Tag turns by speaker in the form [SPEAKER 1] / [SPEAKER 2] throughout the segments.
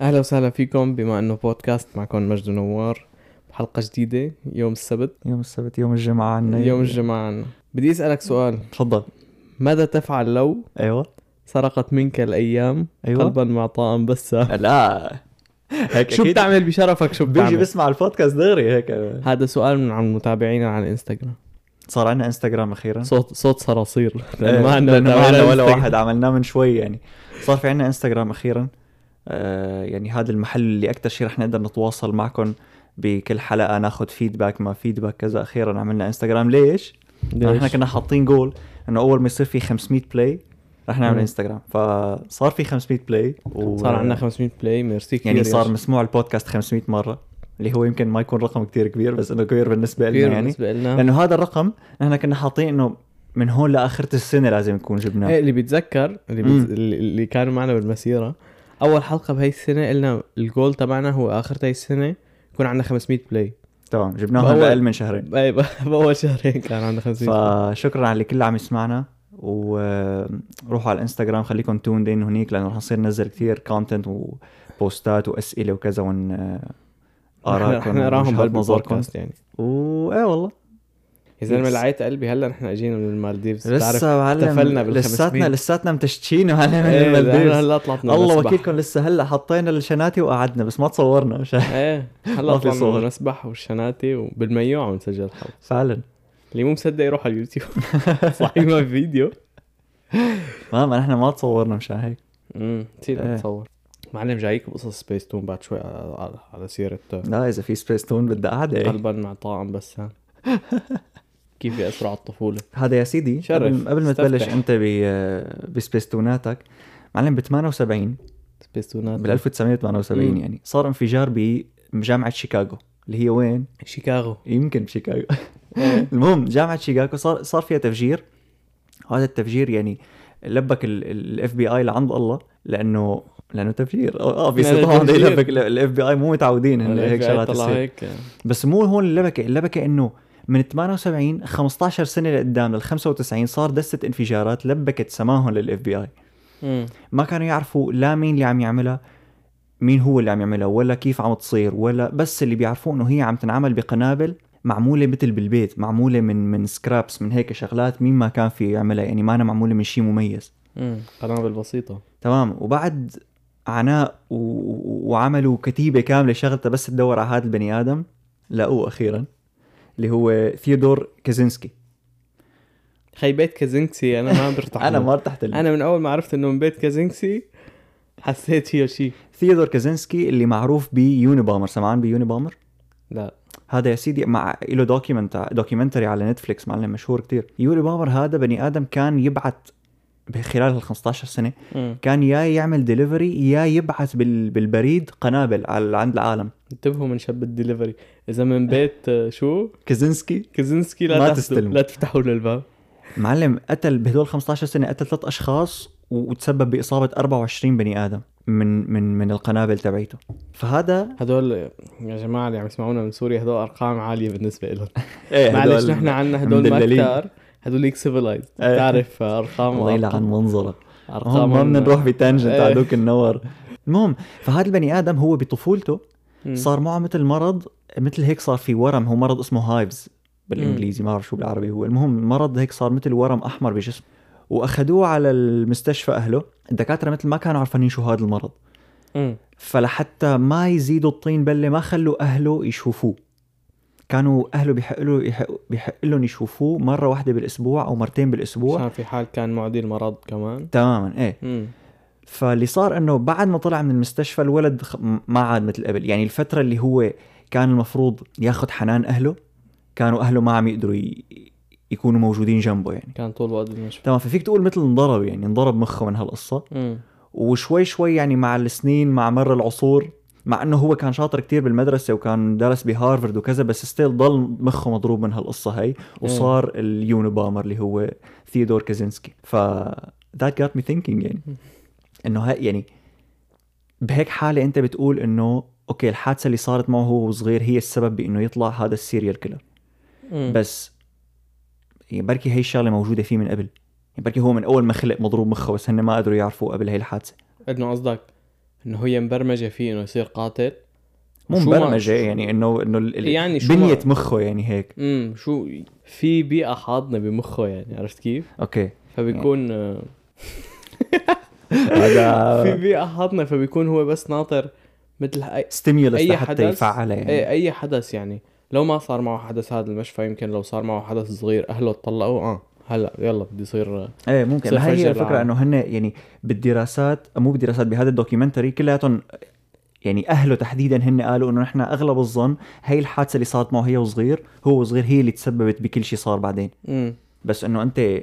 [SPEAKER 1] اهلا وسهلا فيكم بما انه بودكاست معكم مجد نوار بحلقه جديده يوم السبت
[SPEAKER 2] يوم السبت يوم الجمعة عنا
[SPEAKER 1] يوم الجمعه عنا. بدي اسالك سؤال
[SPEAKER 2] تفضل
[SPEAKER 1] ماذا تفعل لو
[SPEAKER 2] ايوه
[SPEAKER 1] سرقت منك الايام
[SPEAKER 2] أيوة.
[SPEAKER 1] قلبا معطاء بسا
[SPEAKER 2] لا هيك
[SPEAKER 1] شو
[SPEAKER 2] اكيد
[SPEAKER 1] بتعمل بشرفك شو
[SPEAKER 2] بيجي
[SPEAKER 1] بتعمل
[SPEAKER 2] بسمع البودكاست دغري هيك
[SPEAKER 1] هذا سؤال من عن متابعينا على الانستغرام
[SPEAKER 2] صار عنا انستغرام اخيرا
[SPEAKER 1] صوت صوت صراصير
[SPEAKER 2] نعم. إيه،
[SPEAKER 1] لأنه عنا
[SPEAKER 2] لأنه ما
[SPEAKER 1] متابعين
[SPEAKER 2] عنا
[SPEAKER 1] على
[SPEAKER 2] ولا
[SPEAKER 1] الإنستغرام.
[SPEAKER 2] واحد عملناه من شوي يعني صار في عنا انستغرام اخيرا آه يعني هذا المحل اللي اكثر شيء رح نقدر نتواصل معكم بكل حلقه ناخذ فيدباك ما فيدباك كذا اخيرا عملنا انستغرام ليش؟ لأنه
[SPEAKER 1] ليش؟
[SPEAKER 2] احنا كنا حاطين جول انه اول ما يصير في 500 بلاي رح نعمل
[SPEAKER 1] مم.
[SPEAKER 2] انستغرام فصار في 500 بلاي و...
[SPEAKER 1] صار عندنا 500 بلاي ميرسي كثير
[SPEAKER 2] يعني صار مسموع البودكاست 500 مره اللي هو يمكن ما يكون رقم كتير كبير بس انه كبير بالنسبه لنا
[SPEAKER 1] كثير
[SPEAKER 2] يعني
[SPEAKER 1] بالنسبه لنا
[SPEAKER 2] لانه هذا الرقم نحن كنا حاطين انه من هون لاخره السنه لازم نكون
[SPEAKER 1] إيه،
[SPEAKER 2] جبناه
[SPEAKER 1] اللي بيتذكر اللي, بيت... اللي كانوا معنا بالمسيره اول حلقه بهي السنه قلنا الجول تبعنا هو اخر هي السنه يكون عندنا 500 بلاي
[SPEAKER 2] تمام جبناهم
[SPEAKER 1] بأول-
[SPEAKER 2] باقل من شهرين
[SPEAKER 1] إيه، ب- باول شهرين كان عندنا 500 بلاي.
[SPEAKER 2] فشكرا على اللي عم يسمعنا وروحوا على الانستغرام خليكم توند ان هنيك لانه رح نصير ننزل كتير كونتنت وبوستات واسئله وكذا ون
[SPEAKER 1] نحن-
[SPEAKER 2] ارائكم
[SPEAKER 1] نحن نراهم
[SPEAKER 2] وجهات نظركم
[SPEAKER 1] بالبودكاست يعني
[SPEAKER 2] و ايه والله
[SPEAKER 1] يا زلمه
[SPEAKER 2] بس-
[SPEAKER 1] لعيت قلبي هلا نحن اجينا من المالديفز بتعرف
[SPEAKER 2] لسه معلم
[SPEAKER 1] احتفلنا بال 500.
[SPEAKER 2] لساتنا لساتنا متشتشين معلم من
[SPEAKER 1] إيه،
[SPEAKER 2] المالديفز
[SPEAKER 1] نحن هلا طلعنا
[SPEAKER 2] الله
[SPEAKER 1] نسبح.
[SPEAKER 2] وكيلكم لسه هلا حطينا الشناتي وقعدنا بس ما تصورنا مش عارف.
[SPEAKER 1] ايه هلا
[SPEAKER 2] ما في
[SPEAKER 1] طلعنا
[SPEAKER 2] صور.
[SPEAKER 1] نسبح والشناتي وبالميوع عم نسجل الحلقه
[SPEAKER 2] فعلا
[SPEAKER 1] اللي مو مصدق يروح على اليوتيوب صحيح ما في فيديو
[SPEAKER 2] ما ما نحن ما تصورنا مشان هيك
[SPEAKER 1] امم
[SPEAKER 2] إيه.
[SPEAKER 1] نسينا نتصور معلم جايك بقصص سبيس تون بعد شوي على- على, على سيره
[SPEAKER 2] لا اذا في سبيس تون بدها قعده
[SPEAKER 1] قلبا مع طعم بسام كيف اسرع الطفوله
[SPEAKER 2] هذا يا سيدي
[SPEAKER 1] شرف.
[SPEAKER 2] قبل, قبل ما
[SPEAKER 1] استفتح.
[SPEAKER 2] تبلش انت ب بسبيس توناتك معلم ب 78
[SPEAKER 1] سبيس تونات
[SPEAKER 2] بال 1978
[SPEAKER 1] مم.
[SPEAKER 2] يعني صار انفجار بجامعه شيكاغو اللي هي وين؟
[SPEAKER 1] شيكاغو
[SPEAKER 2] يمكن بشيكاغو
[SPEAKER 1] إيه.
[SPEAKER 2] المهم جامعه شيكاغو صار صار فيها تفجير هذا التفجير يعني لبك الاف بي اي لعند الله لانه لانه تفجير اه في
[SPEAKER 1] لأنه
[SPEAKER 2] صداع
[SPEAKER 1] تفجير.
[SPEAKER 2] لبك الاف بي اي مو متعودين هن هيك شغلات
[SPEAKER 1] طلع
[SPEAKER 2] تصير
[SPEAKER 1] هيك
[SPEAKER 2] بس مو هون اللبكه اللبكه انه من 78 15 سنه لقدام لل 95 صار دسه انفجارات لبكت سماهم للاف بي اي
[SPEAKER 1] مم.
[SPEAKER 2] ما كانوا يعرفوا لا مين اللي عم يعملها مين هو اللي عم يعملها ولا كيف عم تصير ولا بس اللي بيعرفوه انه هي عم تنعمل بقنابل معموله مثل بالبيت معموله من من سكرابس من هيك شغلات مين ما كان في يعملها يعني ما أنا معموله من شيء مميز
[SPEAKER 1] مم. قنابل بسيطه
[SPEAKER 2] تمام وبعد عناء و... و- وعملوا كتيبه كامله شغلتها بس تدور على هذا البني ادم لقوه اخيرا اللي هو ثيودور كازينسكي
[SPEAKER 1] خي بيت كازينكسي انا ما برتاح
[SPEAKER 2] انا
[SPEAKER 1] له.
[SPEAKER 2] ما ارتحت له.
[SPEAKER 1] انا من اول ما عرفت انه من بيت كازينكسي حسيت فيه شيء
[SPEAKER 2] ثيودور كازينسكي اللي معروف بيونيبامر سمعان بيونيبامر
[SPEAKER 1] لا
[SPEAKER 2] هذا يا سيدي مع له دوكيمنت دوكيومنتري على نتفليكس معلم مشهور كتير يوري بامر هذا بني ادم كان يبعت بخلال ال 15 سنه
[SPEAKER 1] مم.
[SPEAKER 2] كان يا يعمل ديليفري يا يبعث بال... بالبريد قنابل على عند العالم
[SPEAKER 1] انتبهوا من شب الدليفري اذا من بيت آه، شو
[SPEAKER 2] كازينسكي
[SPEAKER 1] كازينسكي لا
[SPEAKER 2] ما
[SPEAKER 1] تحسوا-
[SPEAKER 2] تستلموا.
[SPEAKER 1] لا تفتحوا له الباب
[SPEAKER 2] معلم قتل بهدول 15 سنه قتل ثلاث اشخاص و... وتسبب باصابه 24 بني ادم من من من القنابل تبعيته فهذا
[SPEAKER 1] هدول يا جماعه اللي عم يسمعونا من سوريا هدول ارقام عاليه بالنسبه لهم
[SPEAKER 2] ايه
[SPEAKER 1] معلش نحن عندنا هدول ما
[SPEAKER 2] مدللين.
[SPEAKER 1] كتار هدوليك سيفلايز
[SPEAKER 2] إيه.
[SPEAKER 1] بتعرف ارقام
[SPEAKER 2] الله يلعن منظره
[SPEAKER 1] ارقام
[SPEAKER 2] هم ما بدنا نروح بتانجنت
[SPEAKER 1] إيه.
[SPEAKER 2] عدوك النور المهم فهذا البني ادم هو بطفولته
[SPEAKER 1] مم.
[SPEAKER 2] صار معه مثل مرض مثل هيك صار في ورم هو مرض اسمه هايفز بالانجليزي ما بعرف شو بالعربي هو المهم مرض هيك صار مثل ورم احمر بجسمه واخذوه على المستشفى اهله الدكاتره مثل ما كانوا عارفين شو هذا المرض
[SPEAKER 1] مم.
[SPEAKER 2] فلحتى ما يزيدوا الطين بله ما خلوا اهله يشوفوه كانوا اهله بيحق له يحق- بيحق لهم يشوفوه مره واحده بالاسبوع او مرتين بالاسبوع
[SPEAKER 1] كان في حال كان معدي المرض كمان
[SPEAKER 2] تماما ايه
[SPEAKER 1] مم.
[SPEAKER 2] فاللي صار انه بعد ما طلع من المستشفى الولد خ- ما عاد مثل قبل يعني الفتره اللي هو كان المفروض ياخذ حنان اهله كانوا اهله ما عم يقدروا ي... يكونوا موجودين جنبه يعني
[SPEAKER 1] كان طول الوقت بالمشفى
[SPEAKER 2] تمام ففيك تقول مثل انضرب يعني انضرب مخه من هالقصه
[SPEAKER 1] مم.
[SPEAKER 2] وشوي شوي يعني مع السنين مع مر العصور مع انه هو كان شاطر كتير بالمدرسه وكان درس بهارفرد وكذا بس ستيل ضل مخه مضروب من هالقصه هي وصار اليونيبامر اللي هو ثيودور كازينسكي ف ذات got me thinking يعني انه ها يعني بهيك حاله انت بتقول انه اوكي الحادثه اللي صارت معه هو وصغير هي السبب بانه يطلع هذا السيريال كيلر
[SPEAKER 1] مم.
[SPEAKER 2] بس يعني بركي هي الشغله موجوده فيه من قبل يعني بركي هو من اول ما خلق مضروب مخه بس هن ما قدروا يعرفوا قبل هي الحادثه
[SPEAKER 1] انه قصدك انه هي مبرمجه فيه انه يصير قاتل
[SPEAKER 2] مو
[SPEAKER 1] شو ما-
[SPEAKER 2] مبرمجه يعني انه انه ال- ال-
[SPEAKER 1] يعني شو
[SPEAKER 2] بنيه
[SPEAKER 1] ما-
[SPEAKER 2] مخه يعني هيك
[SPEAKER 1] امم شو في بيئه حاضنه بمخه يعني عرفت كيف؟
[SPEAKER 2] اوكي
[SPEAKER 1] فبيكون آه، في
[SPEAKER 2] هذا
[SPEAKER 1] بيئه حاضنه فبيكون هو بس ناطر مثل اي
[SPEAKER 2] ستيميولس
[SPEAKER 1] أي
[SPEAKER 2] لحتى
[SPEAKER 1] حدث- إيه.
[SPEAKER 2] يفعلها يعني
[SPEAKER 1] أي- اي حدث يعني لو ما صار معه حدث هذا المشفى يمكن لو صار معه حدث صغير اهله تطلقوا اه هلا يلا بدي يصير آه،
[SPEAKER 2] ايه ممكن
[SPEAKER 1] بصير
[SPEAKER 2] هاي
[SPEAKER 1] فجر
[SPEAKER 2] هي الفكره
[SPEAKER 1] العالم.
[SPEAKER 2] انه هن يعني بالدراسات مو بالدراسات بهذا الدوكيومنتري كلياتهم يعني اهله تحديدا هن قالوا انه نحن اغلب الظن هي الحادثه اللي صارت معه هي وصغير هو صغير هي اللي تسببت بكل شيء صار بعدين
[SPEAKER 1] امم
[SPEAKER 2] بس انه انت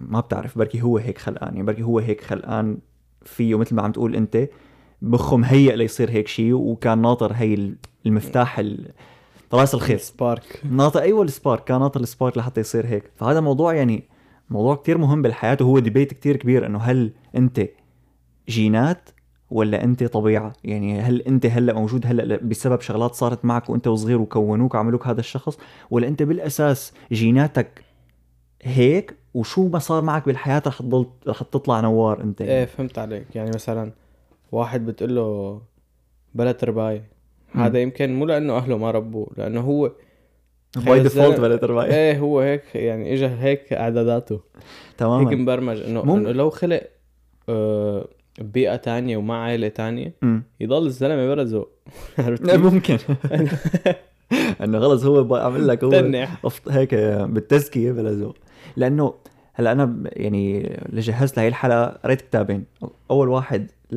[SPEAKER 2] ما بتعرف بركي هو هيك خلقان يعني بركي هو هيك خلقان فيه مثل ما عم تقول انت مخه مهيئ ليصير هيك شيء وكان ناطر هي المفتاح ال- راس الخيط
[SPEAKER 1] سبارك
[SPEAKER 2] ناطر ايوه السبارك كان ناطر السبارك لحتى يصير هيك فهذا موضوع يعني موضوع كتير مهم بالحياه وهو ديبيت كتير كبير انه هل انت جينات ولا انت طبيعه يعني هل انت هلا موجود هلا بسبب شغلات صارت معك وانت وصغير وكونوك وعملوك هذا الشخص ولا انت بالاساس جيناتك هيك وشو ما صار معك بالحياه رح تضل رح تطلع نوار انت
[SPEAKER 1] ايه فهمت عليك يعني مثلا واحد بتقول له بلا ترباية هذا يمكن مو لانه اهله ما ربوه لانه هو
[SPEAKER 2] باي
[SPEAKER 1] خيال
[SPEAKER 2] ديفولت
[SPEAKER 1] الزلمة-
[SPEAKER 2] بلا ترباية
[SPEAKER 1] ايه هو هيك يعني اجى هيك اعداداته هيك
[SPEAKER 2] تماما
[SPEAKER 1] مبرمج انه
[SPEAKER 2] مم.
[SPEAKER 1] انه لو خلق آه، ببيئة تانية ومع عائلة تانية
[SPEAKER 2] مم.
[SPEAKER 1] يضل الزلمة برزق عرفت
[SPEAKER 2] لا،
[SPEAKER 1] كيف؟
[SPEAKER 2] ممكن انه خلص هو بقى عمل لك هو
[SPEAKER 1] تنح
[SPEAKER 2] أفط- هيك بالتزكيه بلا ذوق لانه هلا انا ب- يعني اللي جهزت لهي الحلقه قريت كتابين اول واحد ل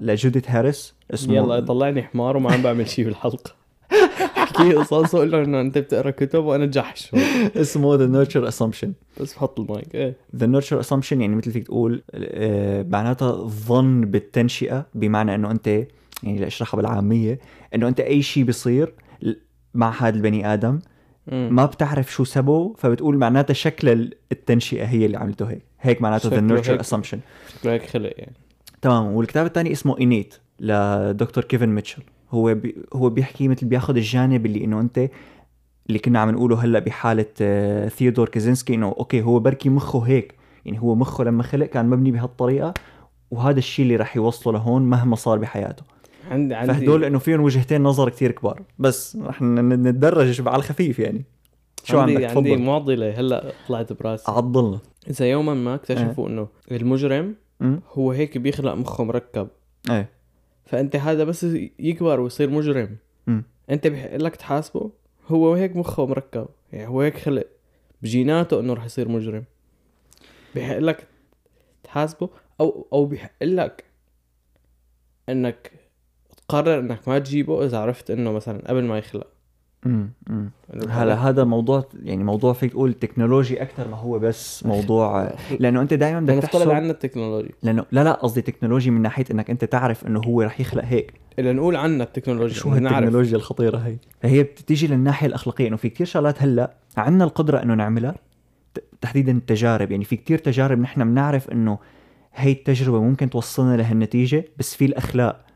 [SPEAKER 2] لجوديت هاريس اسمه
[SPEAKER 1] يلا طلعني حمار وما عم بعمل شيء بالحلقة احكي لي قصص وقول له انه انت بتقرا كتب وانا جحش
[SPEAKER 2] اسمه ذا نيرتشر اسامبشن
[SPEAKER 1] بس بحط المايك ايه
[SPEAKER 2] ذا نيرتشر اسامبشن يعني مثل فيك تقول آه، معناتها ظن بالتنشئه بمعنى انه انت يعني لاشرحها بالعاميه انه انت اي شيء بيصير ل- مع هذا البني ادم
[SPEAKER 1] مم.
[SPEAKER 2] ما بتعرف شو سببه فبتقول معناتها شكل التنشئه هي اللي عملته هيك هيك معناته ذا
[SPEAKER 1] شكله هيك.
[SPEAKER 2] نيرتشر اسامبشن
[SPEAKER 1] شكله هيك خلق يعني
[SPEAKER 2] تمام والكتاب الثاني اسمه انيت لدكتور كيفن ميتشل هو بي هو بيحكي مثل بياخذ الجانب اللي انه انت اللي كنا عم نقوله هلا بحاله آه، ثيودور كازينسكي انه اوكي هو بركي مخه هيك يعني هو مخه لما خلق كان مبني بهالطريقه وهذا الشيء اللي رح يوصله لهون مهما صار بحياته
[SPEAKER 1] عندي عندي
[SPEAKER 2] فهدول انه فيهم وجهتين نظر كتير كبار بس رح ن- نتدرج على الخفيف يعني شو عندك
[SPEAKER 1] عندي عندي
[SPEAKER 2] تفضل
[SPEAKER 1] معضله هلا طلعت براسي
[SPEAKER 2] عضلنا
[SPEAKER 1] اذا يوما ما اكتشفوا
[SPEAKER 2] إيه.
[SPEAKER 1] انه المجرم
[SPEAKER 2] أمم.
[SPEAKER 1] هو هيك بيخلق مخه مركب
[SPEAKER 2] ايه
[SPEAKER 1] فانت هذا بس يكبر ويصير مجرم
[SPEAKER 2] أمم.
[SPEAKER 1] انت بحق لك تحاسبه هو هيك مخه مركب يعني هو هيك خلق بجيناته انه رح يصير مجرم بحق لك تحاسبه او او بحق لك انك تقرر انك ما تجيبه اذا عرفت انه مثلا قبل ما يخلق
[SPEAKER 2] أمم، أمم. هلا هذا موضوع يعني موضوع فيك تقول تكنولوجي اكثر ما هو بس موضوع لانه انت دائما بدك
[SPEAKER 1] لنفترض
[SPEAKER 2] تحسب
[SPEAKER 1] عنا التكنولوجيا
[SPEAKER 2] لانه لا لا قصدي تكنولوجي من ناحيه انك انت تعرف انه هو رح يخلق هيك
[SPEAKER 1] لنقول عنا التكنولوجيا
[SPEAKER 2] شو
[SPEAKER 1] نعرف.
[SPEAKER 2] هالتكنولوجيا الخطيره هي فهي بتيجي للناحيه الاخلاقيه انه في كتير شغلات هلا عندنا القدره انه نعملها ت- تحديدا التجارب يعني في كتير تجارب نحن بنعرف انه هي التجربه ممكن توصلنا لهالنتيجه بس في الاخلاق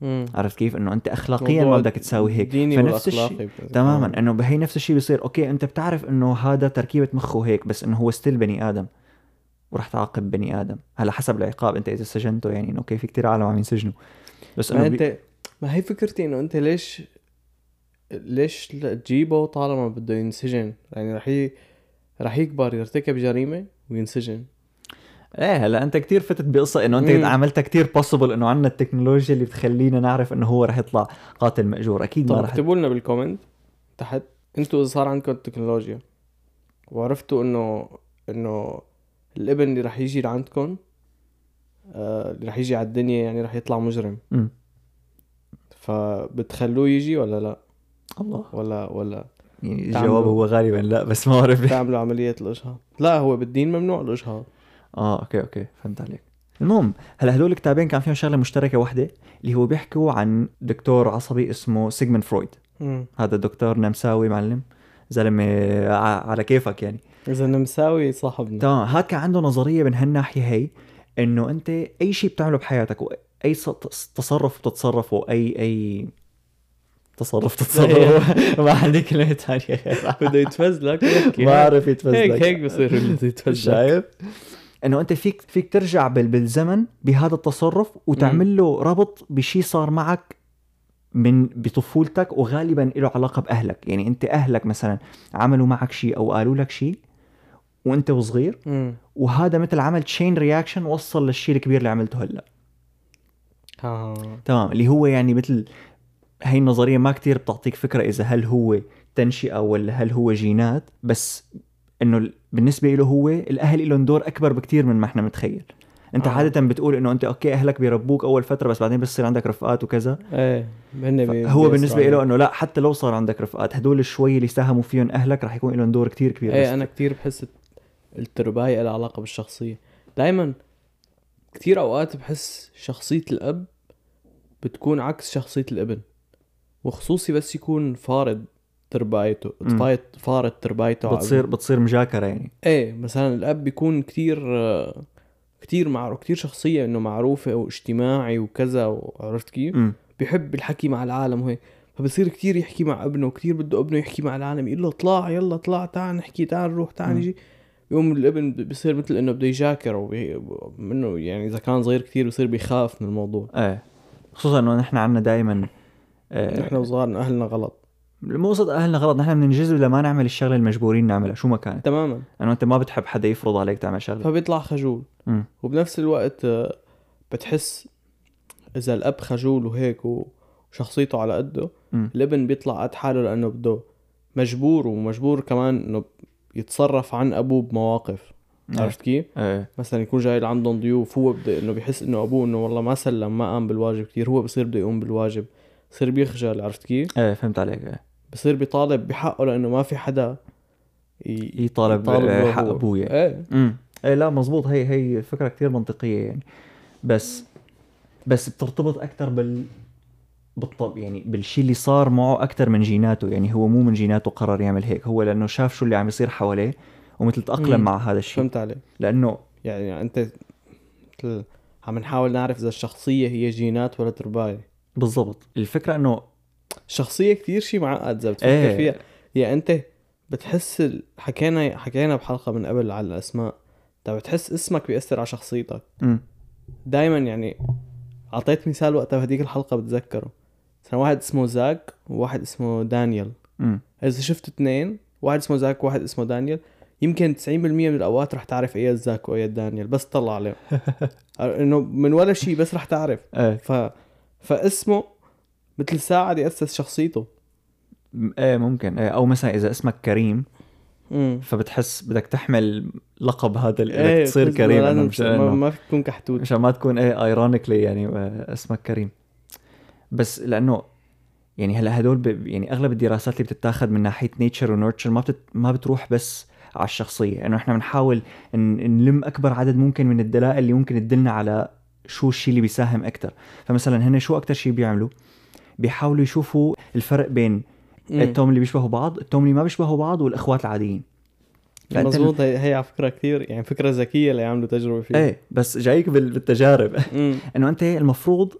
[SPEAKER 1] مم.
[SPEAKER 2] عرفت كيف انه انت اخلاقيا ما
[SPEAKER 1] موضوع
[SPEAKER 2] بدك تساوي هيك
[SPEAKER 1] ديني
[SPEAKER 2] فنفس الشيء
[SPEAKER 1] والاخلاقي
[SPEAKER 2] تماما انه بهي نفس الشيء بيصير اوكي انت بتعرف انه هذا تركيبه مخه هيك بس انه هو ستيل بني ادم ورح تعاقب بني ادم هلا حسب العقاب انت اذا سجنته يعني انه اوكي في كتير عالم عم ينسجنوا بس
[SPEAKER 1] ما
[SPEAKER 2] انه بي...
[SPEAKER 1] انت ما هي فكرتي انه انت ليش ليش تجيبه طالما بده ينسجن يعني رح ي... رح يكبر يرتكب جريمه وينسجن
[SPEAKER 2] ايه هلا انت كتير فتت بقصه انه انت
[SPEAKER 1] مم.
[SPEAKER 2] عملتها كتير بوسيبل انه عندنا التكنولوجيا اللي بتخلينا نعرف انه هو رح يطلع قاتل ماجور اكيد ما
[SPEAKER 1] طب
[SPEAKER 2] رح
[SPEAKER 1] اكتبوا لنا بالكومنت تحت انتوا اذا صار عندكم التكنولوجيا وعرفتوا انه انه الابن اللي رح يجي لعندكم آه، اللي رح يجي على الدنيا يعني رح يطلع مجرم
[SPEAKER 2] مم.
[SPEAKER 1] فبتخلوه يجي ولا لا
[SPEAKER 2] الله
[SPEAKER 1] ولا ولا
[SPEAKER 2] يعني
[SPEAKER 1] تعملوا.
[SPEAKER 2] الجواب هو غالبا لا بس ما بعرف
[SPEAKER 1] تعملوا عمليه الاشهاق لا هو بالدين ممنوع الاشهاق
[SPEAKER 2] اه اوكي اوكي فهمت عليك المهم هلا هدول الكتابين كان فيهم شغله مشتركه واحده اللي هو بيحكوا عن دكتور عصبي اسمه سيجمund فرويد
[SPEAKER 1] مم.
[SPEAKER 2] هذا دكتور نمساوي معلم زلمه ع- على كيفك يعني
[SPEAKER 1] اذا نمساوي صاحبنا
[SPEAKER 2] تمام هاد كان عنده نظريه من هالناحيه هي انه انت اي شيء بتعمله بحياتك واي ص- تص- تصرف بتتصرفه اي اي تصرف تتصرفه ما عندي كلمه ثانيه غيرها
[SPEAKER 1] بده يتفزلك
[SPEAKER 2] ما عرف يتفزلك
[SPEAKER 1] هيك هيك بصير بده يتفزلك
[SPEAKER 2] شايف انه انت فيك فيك ترجع بال- بالزمن بهذا التصرف وتعمل له ربط بشيء صار معك من بطفولتك وغالبا له علاقه باهلك يعني انت اهلك مثلا عملوا معك شيء او قالوا لك شيء وانت وصغير
[SPEAKER 1] امم
[SPEAKER 2] وهذا مثل عمل تشين رياكشن وصل للشيء الكبير اللي عملته هلا
[SPEAKER 1] ها
[SPEAKER 2] تمام اللي هو يعني مثل هاي النظريه ما كتير بتعطيك فكره اذا هل هو تنشئه ولا هل هو جينات بس انه ال- بالنسبه له هو الاهل لهم دور اكبر بكتير من ما احنا متخيل انت
[SPEAKER 1] آه.
[SPEAKER 2] آه. عاده بتقول انه انت اوكي اهلك بيربوك اول فتره بس بعدين بصير عندك رفقات وكذا
[SPEAKER 1] ايه هن بي-
[SPEAKER 2] إيه. هو
[SPEAKER 1] بيأثروا
[SPEAKER 2] بالنسبه
[SPEAKER 1] عليك.
[SPEAKER 2] له انه لا حتى لو صار عندك رفقات هدول شوي اللي ساهموا فيهم اهلك رح يكون لهم دور كتير كبير بس-
[SPEAKER 1] ايه انا كتير بحس الت- التربايه لها علاقه بالشخصيه دائما كتير اوقات بحس شخصيه الاب بتكون عكس شخصيه الابن وخصوصي بس يكون فارض تربايته
[SPEAKER 2] مم.
[SPEAKER 1] فارض فارض تربايته على
[SPEAKER 2] بتصير بتصير مجاكره يعني
[SPEAKER 1] ايه مثلا الاب بيكون كتير آه، كتير معروف كتير شخصية انه معروفة واجتماعي وكذا وعرفت كيف؟
[SPEAKER 2] امم
[SPEAKER 1] بيحب الحكي مع العالم وهيك فبصير كتير يحكي مع ابنه وكتير بده ابنه يحكي مع العالم يقول له اطلع يلا اطلع تعال نحكي تعال نروح تعال
[SPEAKER 2] مم.
[SPEAKER 1] نجي يوم الابن ب- بصير مثل انه بده يجاكر وبي- منه يعني اذا كان صغير كتير بصير بيخاف من الموضوع
[SPEAKER 2] ايه خصوصا انه نحن آه، عندنا دائما إيه.
[SPEAKER 1] نحن وصغارنا اهلنا غلط
[SPEAKER 2] المقصد اهلنا غلط نحن بننجذب لما نعمل الشغله المجبورين نعملها شو ما كانت
[SPEAKER 1] تماما
[SPEAKER 2] انه انت ما بتحب حدا يفرض عليك تعمل شغله
[SPEAKER 1] فبيطلع خجول
[SPEAKER 2] مم.
[SPEAKER 1] وبنفس الوقت آه، بتحس اذا الاب خجول وهيك و- وشخصيته على قده
[SPEAKER 2] مم.
[SPEAKER 1] الابن بيطلع قد حاله لانه بده مجبور ومجبور كمان انه يتصرف عن ابوه بمواقف عرفت كيف؟
[SPEAKER 2] ايه
[SPEAKER 1] مثلا يكون جاي لعندهم ضيوف هو بده انه بيحس انه ابوه انه والله ما سلم ما قام بالواجب كتير هو بصير بده يقوم بالواجب بصير بيخجل عرفت كيف؟
[SPEAKER 2] ايه فهمت عليك ايه
[SPEAKER 1] بصير بيطالب بحقه لانه ما في حدا ي...
[SPEAKER 2] يطالب
[SPEAKER 1] يطالب
[SPEAKER 2] آه،
[SPEAKER 1] له
[SPEAKER 2] حق
[SPEAKER 1] هو.
[SPEAKER 2] ابوه يعني.
[SPEAKER 1] ايه
[SPEAKER 2] امم ايه لا مزبوط هي هي فكره كتير منطقيه يعني بس بس بترتبط اكثر بال بالطب يعني بالشيء اللي صار معه اكثر من جيناته يعني هو مو من جيناته قرر يعمل هيك هو لانه شاف شو اللي عم يصير حواليه ومثل تاقلم
[SPEAKER 1] مم.
[SPEAKER 2] مع هذا الشيء
[SPEAKER 1] فهمت عليك
[SPEAKER 2] لانه
[SPEAKER 1] يعني انت مثل عم نحاول نعرف اذا الشخصيه هي جينات ولا تربايه
[SPEAKER 2] بالضبط الفكره انه
[SPEAKER 1] الشخصيه كتير شيء معقد اذا بتفكر
[SPEAKER 2] إيه.
[SPEAKER 1] فيها يعني انت بتحس ال... حكينا حكينا بحلقه من قبل على الاسماء طب بتحس اسمك بيأثر على شخصيتك
[SPEAKER 2] امم
[SPEAKER 1] دائما يعني اعطيت مثال وقتها بهديك الحلقه بتذكره مثلا واحد اسمه زاك وواحد اسمه دانيال
[SPEAKER 2] امم
[SPEAKER 1] اذا شفت اثنين واحد اسمه زاك وواحد اسمه دانيال يمكن 90% من الاوقات رح تعرف ايه زاك وايه دانيال بس طلع عليهم انه من ولا شيء بس رح تعرف
[SPEAKER 2] ايه
[SPEAKER 1] ف فاسمه مثل ساعد يأسس شخصيته
[SPEAKER 2] م- ايه ممكن ايه او مثلا اذا اسمك كريم
[SPEAKER 1] امم
[SPEAKER 2] فبتحس بدك تحمل لقب هذا
[SPEAKER 1] إيه،
[SPEAKER 2] اللي بدك تصير كريم إنه مش
[SPEAKER 1] ما,
[SPEAKER 2] إنه-
[SPEAKER 1] ما فيك تكون كحتوت
[SPEAKER 2] مشان ما تكون ايه ايرونيكلي يعني آه، اسمك كريم بس لانه يعني هلا هدول ب... يعني اغلب الدراسات اللي بتتاخذ من ناحيه نيتشر ونورتشر ما بتت... ما بتروح بس على الشخصيه انه احنا بنحاول ن... نلم اكبر عدد ممكن من الدلائل اللي ممكن تدلنا على شو الشيء اللي بيساهم اكثر فمثلا هن شو اكثر شيء بيعملوا بيحاولوا يشوفوا الفرق بين
[SPEAKER 1] مم.
[SPEAKER 2] التوم اللي بيشبهوا بعض التوم اللي ما بيشبهوا بعض والاخوات العاديين فأنت-
[SPEAKER 1] مزبوط هي, هي على فكره كثير يعني فكره ذكيه اللي عملوا تجربه فيها
[SPEAKER 2] ايه بس جايك بال- بالتجارب
[SPEAKER 1] مم.
[SPEAKER 2] انه انت المفروض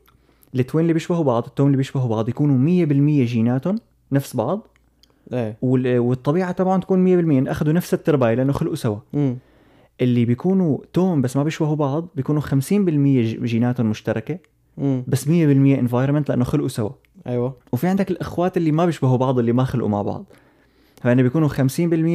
[SPEAKER 2] التوين اللي بيشبهوا بعض التوم اللي بيشبهوا بعض يكونوا 100% جيناتهم نفس بعض
[SPEAKER 1] ايه
[SPEAKER 2] وال- والطبيعه تبعهم تكون 100% إن اخذوا نفس التربايه لانه خلقوا سوا
[SPEAKER 1] مم.
[SPEAKER 2] اللي بيكونوا توم بس ما بيشبهوا بعض بيكونوا 50% ج- جيناتهم مشتركه
[SPEAKER 1] مم.
[SPEAKER 2] بس 100% انفايرمنت لانه خلقوا سوا
[SPEAKER 1] ايوه
[SPEAKER 2] وفي عندك الاخوات اللي ما بيشبهوا بعض اللي ما خلقوا مع بعض فانه بيكونوا 50%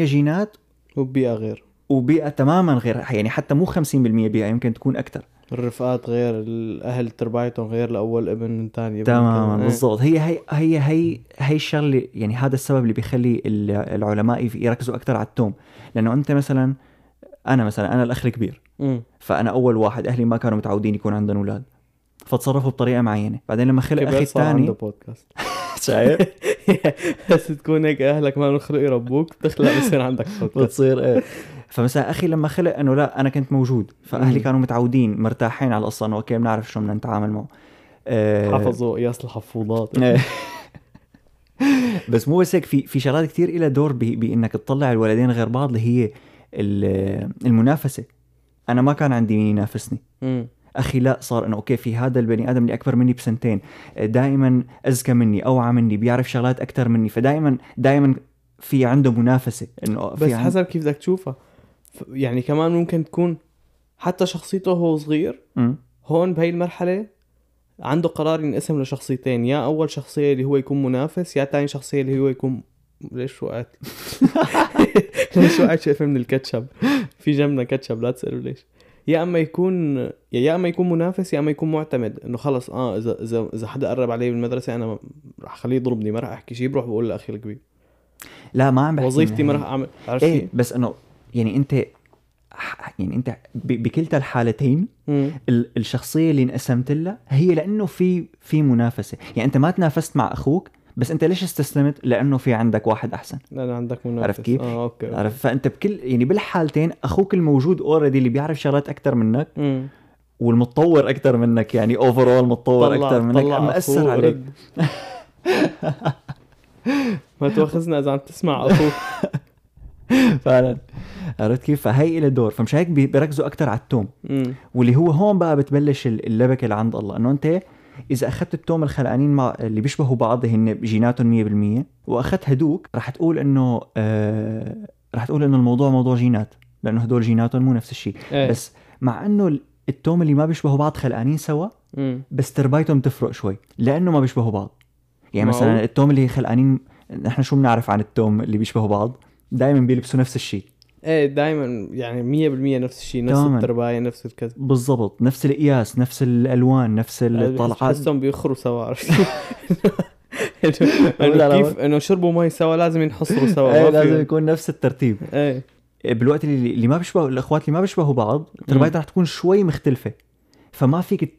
[SPEAKER 2] جينات
[SPEAKER 1] وبيئه غير
[SPEAKER 2] وبيئه تماما غير يعني حتى مو 50% بيئه يمكن تكون اكثر
[SPEAKER 1] الرفقات غير الاهل تربايتهم غير لاول ابن إيه. من ثاني
[SPEAKER 2] تماما بالضبط هي هي هي هي هي الشغله يعني هذا السبب اللي بيخلي ال- العلماء يف- يركزوا اكثر على التوم لانه انت مثلا انا مثلا انا الاخ الكبير فانا اول واحد اهلي ما كانوا متعودين يكون عندهم اولاد فتصرفوا بطريقه معينه بعدين لما خلق اخي
[SPEAKER 1] اخي صار عنده
[SPEAKER 2] الثاني
[SPEAKER 1] بودكاست
[SPEAKER 2] شايف
[SPEAKER 1] بس تكون هيك اهلك ما لهم خلق يربوك تخلق بصير عندك بودكاست
[SPEAKER 2] بتصير ايه فمثلا اخي لما خلق انه لا انا كنت موجود فاهلي
[SPEAKER 1] مم.
[SPEAKER 2] كانوا متعودين مرتاحين على القصه انه اوكي بنعرف شو بدنا نتعامل معه آه،
[SPEAKER 1] حفظوا قياس الحفوضات
[SPEAKER 2] إيه. بس مو بس هيك في في شغلات كثير لها دور ب- بانك تطلع الولدين غير بعض اللي هي ال- المنافسه انا ما كان عندي مين ينافسني
[SPEAKER 1] مم.
[SPEAKER 2] اخي لا صار انه اوكي في هذا البني ادم اللي اكبر مني بسنتين دائما اذكى مني اوعى مني بيعرف شغلات اكثر مني فدائما دائما في عنده منافسه انه في
[SPEAKER 1] بس
[SPEAKER 2] عن-
[SPEAKER 1] حسب كيف بدك تشوفها ف- يعني كمان ممكن تكون حتى شخصيته هو صغير
[SPEAKER 2] أمم.
[SPEAKER 1] هون بهي المرحله عنده قرار ينقسم لشخصيتين يا اول شخصيه اللي هو يكون منافس يا تاني شخصيه اللي هو يكون ليش وقعت ليش وقعت شقفه من الكاتشب في جنبنا كاتشب لا تسالوا ليش يا اما يكون يا يا اما يكون منافس يا اما يكون معتمد انه خلص اه اذا اذا اذا حدا قرب علي بالمدرسه انا رح اخليه يضربني ما رح احكي شيء بروح بقول لاخي الكبير
[SPEAKER 2] لا ما عم بحكي
[SPEAKER 1] وظيفتي ما
[SPEAKER 2] إنها
[SPEAKER 1] رح اعمل عرفت
[SPEAKER 2] ايه
[SPEAKER 1] إيه؟
[SPEAKER 2] بس انه يعني انت ح- يعني انت ب- بكلتا الحالتين ال- الشخصيه اللي انقسمت لها هي لانه في في منافسه يعني انت ما تنافست مع اخوك بس انت ليش استسلمت لانه في عندك واحد احسن
[SPEAKER 1] لان عندك منافس
[SPEAKER 2] عرفت كيف؟
[SPEAKER 1] اه اوكي
[SPEAKER 2] عارف فانت بكل يعني بالحالتين اخوك الموجود اوريدي اللي بيعرف شغلات اكثر منك
[SPEAKER 1] مم.
[SPEAKER 2] والمتطور اكثر منك يعني اوفرول متطور اكثر منك
[SPEAKER 1] طلع
[SPEAKER 2] مأثر
[SPEAKER 1] أخوه
[SPEAKER 2] عليك
[SPEAKER 1] ورد. ما تواخذنا اذا عم تسمع اخوك
[SPEAKER 2] فعلا عرفت كيف؟ فهي إلى دور فمش هيك بي- بيركزوا اكثر على التوم
[SPEAKER 1] أمم.
[SPEAKER 2] واللي هو هون بقى بتبلش ال- اللبكه اللي عند الله انه انت اذا اخذت التوم الخلقانين مع اللي بيشبهوا بعض هن جيناتهم 100% واخذت هدوك رح تقول انه آه رح تقول انه الموضوع موضوع جينات لانه هدول جيناتهم مو نفس الشيء
[SPEAKER 1] ايه
[SPEAKER 2] بس مع انه ال- التوم اللي ما بيشبهوا بعض خلقانين سوا
[SPEAKER 1] أمم.
[SPEAKER 2] بس تربايتهم تفرق شوي لانه ما بيشبهوا بعض يعني مثلا
[SPEAKER 1] معقول؟
[SPEAKER 2] التوم اللي خلقانين نحن شو بنعرف عن التوم اللي بيشبهوا بعض دائما بيلبسوا نفس الشيء
[SPEAKER 1] ايه دائما يعني 100% نفس الشيء نفس
[SPEAKER 2] تماماً.
[SPEAKER 1] التربايه نفس الكذا
[SPEAKER 2] بالضبط نفس القياس نفس الالوان نفس الطلعات
[SPEAKER 1] بحسهم بيخروا سوا عرفت إنه-
[SPEAKER 2] لا،
[SPEAKER 1] انه
[SPEAKER 2] لا.
[SPEAKER 1] كيف انه شربوا مي سوا لازم ينحصروا سوا
[SPEAKER 2] ايه
[SPEAKER 1] ما في-
[SPEAKER 2] لازم يكون نفس الترتيب
[SPEAKER 1] ايه
[SPEAKER 2] إيه، بالوقت اللي, اللي ما بيشبهوا الاخوات اللي ما بيشبهوا بعض تربيتها رح تكون شوي مختلفه فما فيك ت-